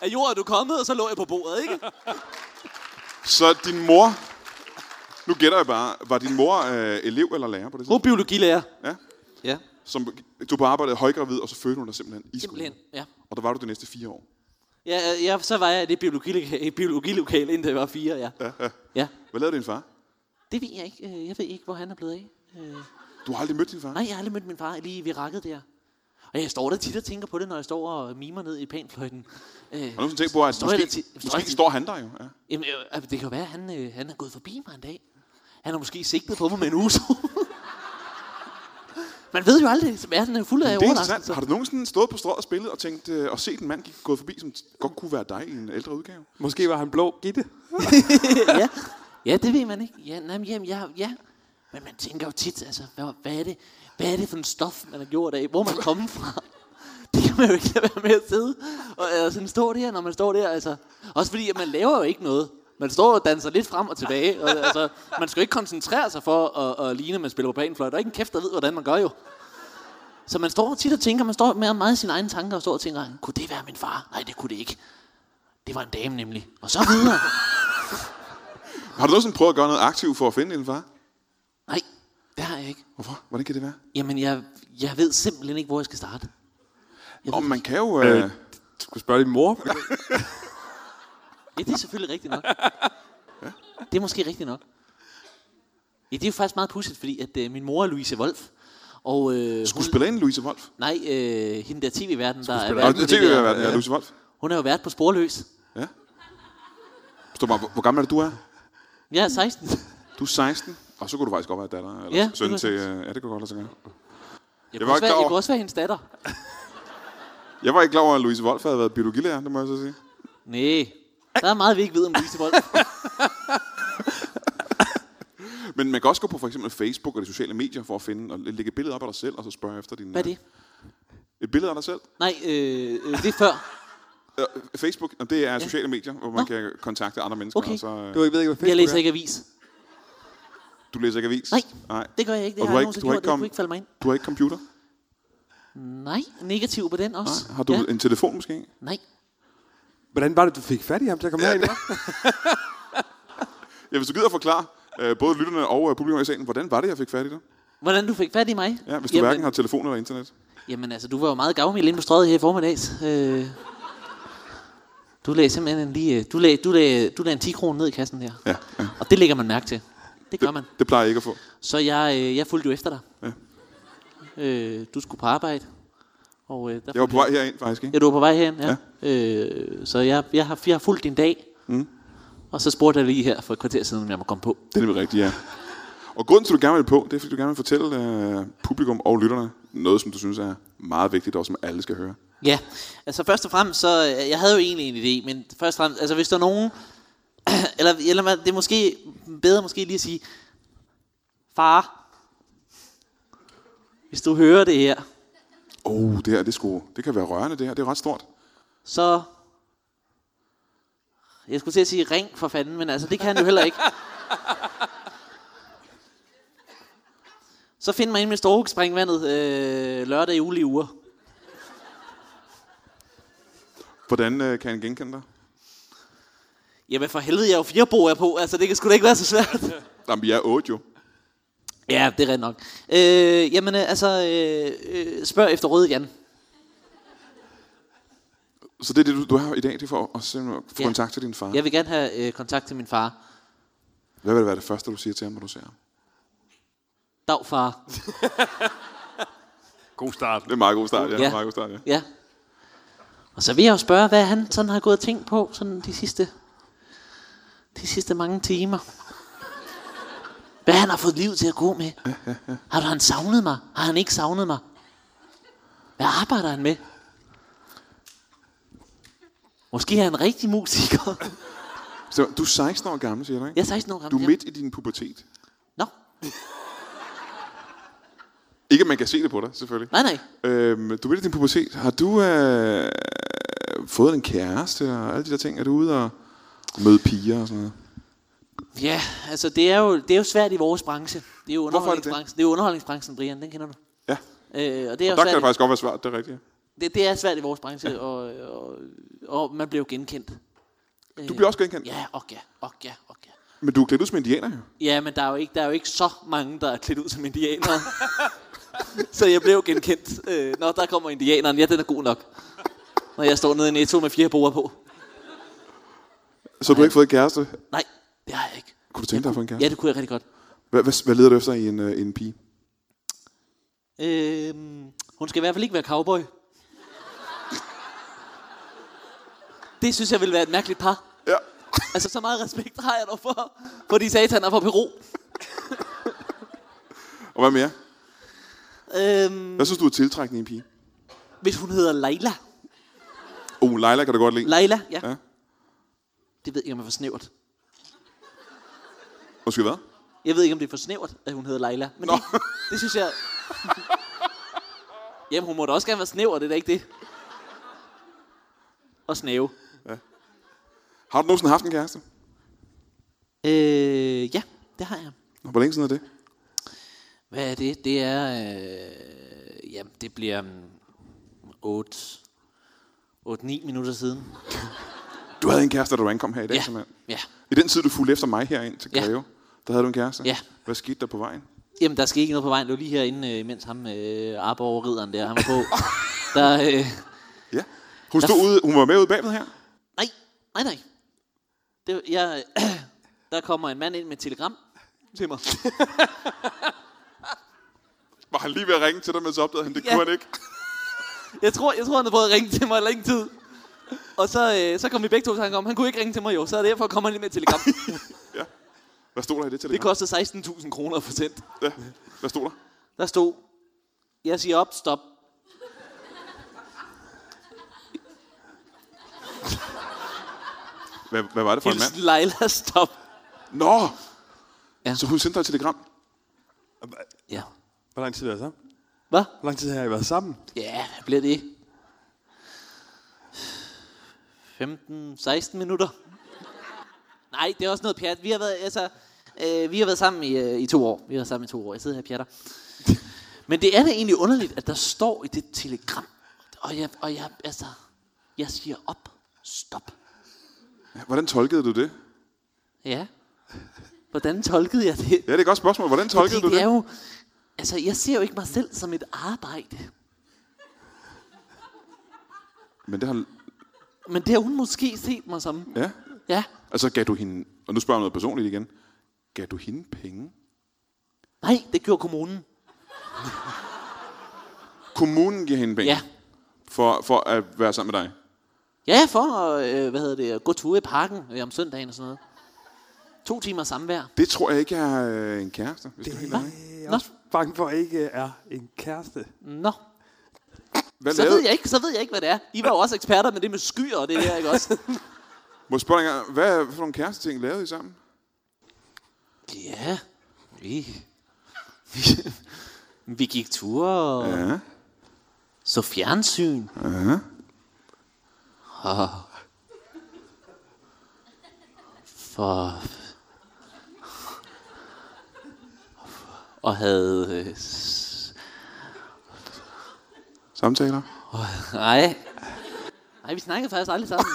Speaker 3: Af jord er du kommet, og så lå jeg på bordet, ikke?
Speaker 2: Så din mor, nu gætter jeg bare, var din mor øh, elev eller lærer på det
Speaker 3: Hun
Speaker 2: tidspunkt?
Speaker 3: er biologilærer.
Speaker 2: Ja.
Speaker 3: Ja,
Speaker 2: Som, du på arbejde højgravid, og så fødte hun dig simpelthen i skolen.
Speaker 3: simpelthen. Ja.
Speaker 2: Og der var du de næste fire år.
Speaker 3: Ja, øh, ja, så var jeg i det biologilokale, biologilokale indtil jeg var fire, ja.
Speaker 2: Ja, ja.
Speaker 3: ja.
Speaker 2: Hvad lavede din far?
Speaker 3: Det ved jeg ikke. Øh, Jeg ved ikke, hvor han er blevet af. Øh,
Speaker 2: Du har aldrig mødt din far?
Speaker 3: Nej, jeg har aldrig mødt min far lige ved rakket der. Og jeg står der tit og tænker på det, når jeg står og mimer ned i panfløjten. Øh,
Speaker 2: Har du nogensinde tænkt på, at
Speaker 3: Står jeg
Speaker 2: måske,
Speaker 3: der til- står jeg
Speaker 2: måske
Speaker 3: til-
Speaker 2: står han der jo? Ja.
Speaker 3: jamen, øh, altså, det kan jo være, at han, øh, han er gået forbi mig en dag. Han har måske sigtet på mig med en uso. [LAUGHS] Man ved jo aldrig, så verden er fuld af
Speaker 2: Det er interessant. Har
Speaker 3: overraskelser.
Speaker 2: du nogensinde stået på strået og spillet og tænkt, øh, og set en mand gik gået forbi, som t- godt kunne være dig i en ældre udgave?
Speaker 4: Måske var han blå gitte.
Speaker 3: ja. [LAUGHS] ja, det ved man ikke. Ja, nej, men, jamen, ja, ja. Men man tænker jo tit, altså, hvad, hvad, er det, hvad er det for en stof, man har gjort af? Hvor er man kommet fra? [LAUGHS] Det kan man jo ikke lade være med at sidde og øh, sådan stå der, når man står der. Altså. Også fordi, at man laver jo ikke noget. Man står og danser lidt frem og tilbage. Og, altså, man skal jo ikke koncentrere sig for at, at ligne, at man spiller på banefløjt. Der er ikke en kæft, der ved, hvordan man gør jo. Så man står tit og tænker, man står med meget i sine egne tanker og står og tænker, kunne det være min far? Nej, det kunne det ikke. Det var en dame nemlig. Og så videre.
Speaker 2: Har du nogensinde prøvet at gøre noget aktivt for at finde din far?
Speaker 3: Nej, det har jeg ikke.
Speaker 2: Hvorfor? Hvordan kan det være?
Speaker 3: Jamen, jeg, jeg ved simpelthen ikke, hvor jeg skal starte.
Speaker 2: Om man kan jo... Øh,
Speaker 4: Øh. Du skulle spørge din mor.
Speaker 3: Ja, det er selvfølgelig rigtigt nok. Det er måske rigtigt nok. Ja, det er jo faktisk meget pudsigt, fordi at, øh, min mor er Louise Wolf. Og øh, hun,
Speaker 2: skuespillerinden Louise Wolf.
Speaker 3: nej, øh, hende der tv-verden, der er
Speaker 2: Og
Speaker 3: vært på
Speaker 2: det
Speaker 3: det der, øh,
Speaker 2: er ja. Louise Wolf.
Speaker 3: Hun er jo vært på Sporløs.
Speaker 2: Ja. Stå bare, hvor, hvor gammel er det, du er?
Speaker 3: Jeg er 16.
Speaker 2: Du er 16, og så kunne du faktisk godt være datter eller
Speaker 3: Ja,
Speaker 2: ja,
Speaker 3: det
Speaker 2: søn
Speaker 3: kunne
Speaker 2: til...
Speaker 3: jeg
Speaker 2: Øh, ja, det kunne godt lade sig gøre.
Speaker 3: Jeg,
Speaker 2: var ikke
Speaker 3: kunne også være,
Speaker 2: klar
Speaker 3: jeg
Speaker 2: over-
Speaker 3: kunne også være hendes datter.
Speaker 2: Jeg var ikke klar over, at Louise Wolf havde været biologilærer, det må jeg så sige.
Speaker 3: Nej, der er meget, vi ikke ved om Louise Wolf.
Speaker 2: Men man kan også gå på for eksempel Facebook og de sociale medier for at finde og lægge et billede op af dig selv, og så spørge efter din...
Speaker 3: Hvad er det?
Speaker 2: øh, Et billede af dig selv.
Speaker 3: Nej, øh, øh, det er før.
Speaker 2: Øh, Facebook, og det er ja. sociale medier, hvor man Nå. kan kontakte andre mennesker.
Speaker 3: Okay.
Speaker 2: Og så, øh,
Speaker 4: Du ved ikke, hvad
Speaker 3: Jeg
Speaker 4: Facebook
Speaker 3: læser
Speaker 4: er.
Speaker 3: ikke avis.
Speaker 2: du læser ikke avis?
Speaker 3: Nej,
Speaker 2: Nej.
Speaker 3: det gør jeg ikke. Det
Speaker 2: Og
Speaker 3: har
Speaker 2: du har
Speaker 3: jeg
Speaker 2: ikke,
Speaker 3: nogensinde
Speaker 2: du har
Speaker 3: gjort.
Speaker 2: ikke,
Speaker 3: Det kunne
Speaker 2: kom,
Speaker 3: ikke falde mig ind.
Speaker 2: du har ikke computer?
Speaker 3: Nej, negativ på den også.
Speaker 2: Nej. Har du ja. en telefon måske?
Speaker 3: Nej.
Speaker 4: Hvordan var det, du fik fat i ham til at komme herind? hva'?
Speaker 2: Ja, hvis du gider forklare øh, både lytterne og øh, publikum i salen, hvordan var det, jeg fik fat i dig?
Speaker 3: Hvordan du fik fat i mig?
Speaker 2: Ja, hvis du
Speaker 3: jamen,
Speaker 2: hverken har telefon eller internet.
Speaker 3: Jamen altså, du var jo meget gavmild inde på strøget her i formiddags. Øh, du lagde simpelthen lige... øh, Du lagde, du lagde, du lagde en 10 kroner ned i kassen her.
Speaker 2: Ja, ja.
Speaker 3: Og det lægger man mærke til. Det gør man.
Speaker 2: Det plejer jeg ikke at få.
Speaker 3: Så jeg, øh, jeg fulgte jo efter dig.
Speaker 2: Ja.
Speaker 3: Øh, du skulle på arbejde. Og, øh, der
Speaker 2: Jeg var på vej herind faktisk, ikke?
Speaker 3: Ja, du var på vej hen, ja. ja. Øh, så jeg, jeg, har, jeg har fulgt din dag. Mm. Og så spurgte jeg lige her for et kvarter siden, om jeg må komme på.
Speaker 2: Det er nemlig rigtigt, ja. Og grunden til, at du gerne vil på, det er, fordi du gerne vil fortælle øh, publikum og lytterne noget, som du synes er meget vigtigt, og som alle skal høre.
Speaker 3: Ja, altså først og fremmest, så øh, jeg havde jo egentlig en idé, men først og fremmest, altså hvis der er nogen, [CLEARS THROAT] eller, eller hvad, det er måske bedre måske lige at sige, far, hvis du hører det her,
Speaker 2: Åh, oh, det her, det, skulle, det kan være rørende, det her. Det er ret stort.
Speaker 3: så, jeg skulle til at sige ring for fanden, men altså det kan han jo heller ikke. Så find mig ind med Storhug Springvandet øh, lørdag i ulige uger.
Speaker 2: Hvordan øh, kan han genkende dig?
Speaker 3: Jamen for helvede, jeg er jo fire boer på, altså det kan sgu da ikke være så svært.
Speaker 2: Jamen, vi er otte jo.
Speaker 3: Ja, det er rent nok. Øh, jamen, øh, altså, øh, øh, spørg efter Røde Jan.
Speaker 2: Så det er det, du, du har i dag, det er for at sende- få
Speaker 3: Ja.
Speaker 2: kontakt til din far.
Speaker 3: Jeg vil gerne have øh, kontakt til min far.
Speaker 2: Hvad vil det være det første, du siger til ham, når du ser ham?
Speaker 3: Dag, far.
Speaker 4: [LAUGHS] God start.
Speaker 2: Det er en meget god start, ja.
Speaker 3: Ja.
Speaker 2: ja. Meget god start, ja.
Speaker 3: Ja. Og så vil jeg jo spørge, hvad han sådan har gået og tænkt på sådan de sidste, de sidste mange timer. Hvad han har fået liv til at gå med. Har han savnet mig? Har han ikke savnet mig? Hvad arbejder han med? Måske er han en rigtig musiker.
Speaker 2: Så du er 16 år gammel, siger du, ikke?
Speaker 3: Jeg er 16 år
Speaker 2: Du
Speaker 3: gammel.
Speaker 2: er
Speaker 3: ja.
Speaker 2: midt i din pubertet.
Speaker 3: Nå,
Speaker 2: Ikke, at man kan se det på dig, selvfølgelig.
Speaker 3: nej, nej.
Speaker 2: Øhm, du er midt i din pubertet. Har du øh, fået en kæreste og alle de der ting? Er du ude og møde piger og sådan noget?
Speaker 3: Ja, altså det er jo, det er jo svært i vores branche. Det er jo
Speaker 2: Hvorfor er det det?
Speaker 3: underholdningsbranchen. Det? det er jo underholdningsbranchen, Brian, den kender du.
Speaker 2: Ja.
Speaker 3: Øh, og det er,
Speaker 2: Der
Speaker 3: og
Speaker 2: kan det
Speaker 3: svært,
Speaker 2: faktisk godt være svært, det er rigtigt.
Speaker 3: det, det er svært i vores branche, og, og, og man bliver jo genkendt. Øh,
Speaker 2: Du bliver også genkendt,
Speaker 3: Ja, og ja, og ja, og ja.
Speaker 2: men du er klædt ud som indianer jo.
Speaker 3: Ja, men der er jo ikke, der er jo ikke så mange, der er klædt ud
Speaker 2: [LAUGHS]
Speaker 3: som indianere. så jeg blev genkendt. Øh, Nå, der kommer indianeren. Ja, den er god nok. Når jeg står nede i Netto med fire boer på.
Speaker 2: Så du har ikke fået en kæreste.
Speaker 3: Nej, det har jeg ikke.
Speaker 2: Kunne du tænke dig at få en kæreste?
Speaker 3: Ja, det kunne jeg rigtig godt.
Speaker 2: Hvad, hvad, hvad leder du efter i en, øh, en pige?
Speaker 3: Øh, hun skal i hvert fald ikke være cowboy. Det synes jeg ville være et mærkeligt par.
Speaker 2: Ja.
Speaker 3: Altså, så meget respekt har jeg dog for, fordi satan er fra Peru.
Speaker 2: Og hvad mere?
Speaker 3: Øhm,
Speaker 2: Hvad synes du er tiltrækkende i en pige?
Speaker 3: hvis hun hedder Leila.
Speaker 2: Oh, Leila kan du godt lide.
Speaker 3: Leila, ja.
Speaker 2: Ja.
Speaker 3: ja. Det ved jeg ikke, om jeg er for snævert.
Speaker 2: Måske hvad?
Speaker 3: Jeg ved ikke, om det er for snævert, at hun hedder Leila. Men
Speaker 2: Nå.
Speaker 3: det, det, synes jeg... Jamen, hun må da også gerne være snæver, det er da ikke det. Og snæve.
Speaker 2: Har du nogensinde haft en kæreste?
Speaker 3: Øh, ja, det har jeg.
Speaker 2: Nå, Hvor længe siden er det?
Speaker 3: Hvad er det? Det er... Øh, jamen, det bliver... Um, 8... 8-9 minutter siden.
Speaker 2: Du havde en kæreste, da du ankom her i dag,
Speaker 3: Ja,
Speaker 2: simpelthen.
Speaker 3: ja.
Speaker 2: I den tid, du fulgte efter mig herind til
Speaker 3: Ja.
Speaker 2: Greve, der havde du en kæreste.
Speaker 3: Ja.
Speaker 2: Hvad skete der på vejen?
Speaker 3: Jamen, der skete ikke noget på vejen. Det var lige herinde, øh, mens ham øh, Arborg ridderen der, han var på. der, øh,
Speaker 2: Ja. Hun, stod ude, hun var med ude bagved her.
Speaker 3: nej, nej, nej. Det, var- jeg, [CLEARS THROAT] der kommer en mand ind med et telegram til [LAUGHS] mig.
Speaker 2: Var han lige ved at ringe til dig, men så opdagede han, det
Speaker 3: Ja.
Speaker 2: kunne han ikke.
Speaker 3: Jeg tror, jeg tror han havde prøvet at ringe til mig længe tid. Og så, øh, så kom vi begge to i tanke om, han kunne ikke ringe til mig jo, så derfor kom han lige med et telegram.
Speaker 2: Hvad stod der i det til
Speaker 3: Det kostede 16.000 kroner at få sendt.
Speaker 2: Ja. Hvad stod der?
Speaker 3: Der stod, jeg siger op, stop.
Speaker 2: Hvad, hvad var det for en mand?
Speaker 3: Hilsen Leila, stop.
Speaker 2: Nå!
Speaker 3: Ja.
Speaker 2: Så hun sendte dig et telegram.
Speaker 3: Ja.
Speaker 4: Hvor lang tid har I været sammen?
Speaker 3: Hvad?
Speaker 4: Hvor lang tid har I været sammen?
Speaker 3: Ja, hvad bliver det? 15-16 minutter. Nej, det er også noget pjat. Vi har været, altså, øh, vi har været sammen i, øh, i to år. Vi har været sammen i to år. Jeg sidder her og [LAUGHS] pjatter. Men det er da egentlig underligt, at der står i det telegram, og jeg, og jeg, altså, jeg siger op, stop.
Speaker 2: Hvordan tolkede du det?
Speaker 3: Ja. Hvordan tolkede jeg det?
Speaker 2: Ja, det er et godt spørgsmål. Hvordan tolkede du
Speaker 3: Fordi
Speaker 2: det?
Speaker 3: det er jo... Altså, jeg ser jo ikke mig selv som et arbejde.
Speaker 2: Men det har...
Speaker 3: Men det har hun måske set mig som.
Speaker 2: Ja.
Speaker 3: Ja.
Speaker 2: Altså, gav du hende... Og nu spørger jeg om noget personligt igen. Gav du hende penge?
Speaker 3: Nej, det gjorde kommunen.
Speaker 2: Kommunen giver hende penge
Speaker 3: Ja.
Speaker 2: for, for at være sammen med dig.
Speaker 3: Ja, for at, øh, hvad hedder det, at gå ture i parken øh, om søndagen og sådan noget. To timer samvær.
Speaker 2: Det tror jeg ikke, jeg har øh, en kæreste. Hvis det... helt
Speaker 3: Hva?
Speaker 2: ærlig.
Speaker 4: Jeg
Speaker 3: Nå,
Speaker 4: bange for, at I ikke øh, er en kæreste.
Speaker 3: nå.
Speaker 2: Hvad
Speaker 3: Så
Speaker 2: lavede...
Speaker 3: ved, jeg ikke, så ved jeg ikke, hvad det er. I var jo også eksperter med det med skyer og det der, ikke også?
Speaker 2: Må jeg spørge dig engang, hvad for nogle kæresteting lavede I sammen?
Speaker 3: [LAUGHS] ja, vi... vi gik ture og
Speaker 2: Ja.
Speaker 3: så fjernsyn.
Speaker 4: Uh-huh.
Speaker 2: Ja.
Speaker 3: Ah. for og havde øh, s-
Speaker 2: Samtaler?
Speaker 3: nej nej vi snakkede faktisk aldrig sammen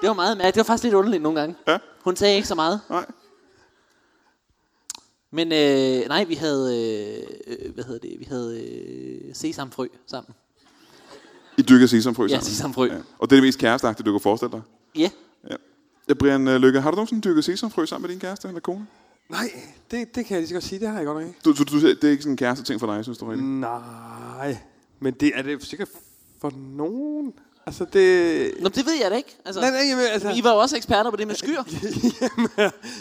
Speaker 3: det var meget mærkeligt. det var faktisk lidt underligt nogle gange
Speaker 2: Ja.
Speaker 3: hun sagde ikke så meget
Speaker 2: Nej.
Speaker 3: men øh, nej vi havde øh, øh, hvad hedder det vi havde øh, sesamfrø sammen
Speaker 2: I dykker sesamfrø
Speaker 3: Ja,
Speaker 2: sammen?
Speaker 3: sesamfrø.
Speaker 2: Og det er det mest kæresteagtige, du kan forestille dig?
Speaker 3: ja
Speaker 2: Ja. ja Brian øh, Lykke, har du nogensinde dykket sesamfrø sammen med din kæreste eller kone?
Speaker 4: Nej, det, det kan jeg lige så godt sige. Det har jeg godt nok ikke.
Speaker 2: Du, du, du, det er ikke sådan en kæreste ting for dig, synes du
Speaker 4: Mm.
Speaker 2: rigtigt?
Speaker 4: Nej, men det er det sikkert for nogen. Altså, det...
Speaker 3: Nå, det ved jeg da ikke altså,
Speaker 4: Nej, nej, jamen, altså...
Speaker 3: I var jo også eksperter på det med skyer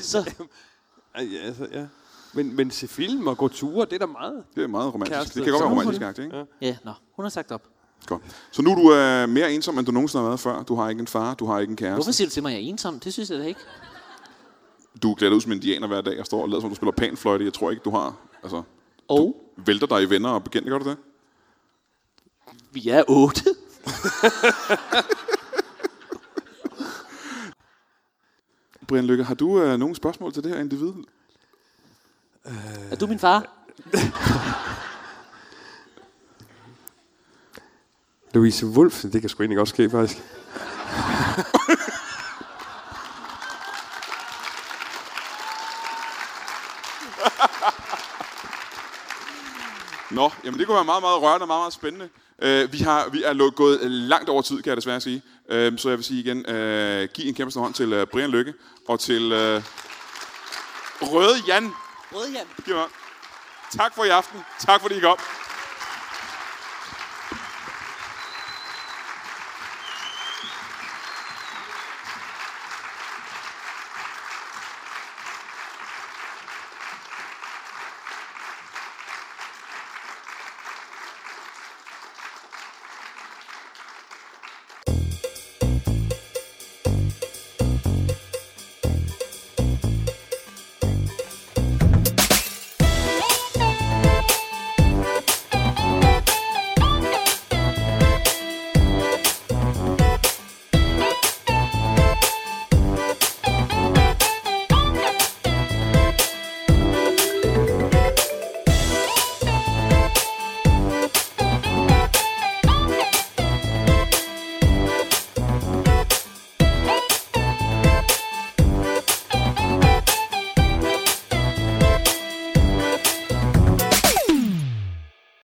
Speaker 3: så
Speaker 4: [LAUGHS] Ej, Ja, altså, ja. Men, men se film og gå ture, det er da meget.
Speaker 2: Det er meget romantisk.
Speaker 4: Kæreste.
Speaker 2: det kan godt være
Speaker 4: Sammen.
Speaker 2: romantisk agtigt, ikke? Ja.
Speaker 3: ja nå hun har sagt op
Speaker 2: Godt. Så nu er du øh, mere ensom, end du nogensinde har været før. Du har ikke en far, du har ikke en kæreste.
Speaker 3: hvorfor siger du til mig at jeg er ensom det synes jeg da ikke
Speaker 2: Du er klædt ud som indianer hver dag og står og lader som om du spiller panfløjte. Jeg tror ikke, du har... Altså,
Speaker 3: og
Speaker 2: vælter dig i venner og bekendte, gør du det?
Speaker 3: vi er otte
Speaker 2: Brian Lykke, har du øh, nogle spørgsmål til det her individ?
Speaker 3: Er du min far?
Speaker 4: Louise Wolf, det kan sgu egentlig godt ske, faktisk.
Speaker 2: Nå, jamen det kunne være meget, meget rørende og meget, meget spændende. Øh, vi, har, vi er lå- gået langt over tid, kan jeg desværre sige. Øh, så jeg vil sige igen, øh, giv en kæmpe stor hånd til øh, Brian Lykke og til øh, Røde Jan.
Speaker 3: Rødhjem.
Speaker 2: Giv mig. Tak for i aften. Tak fordi I kom.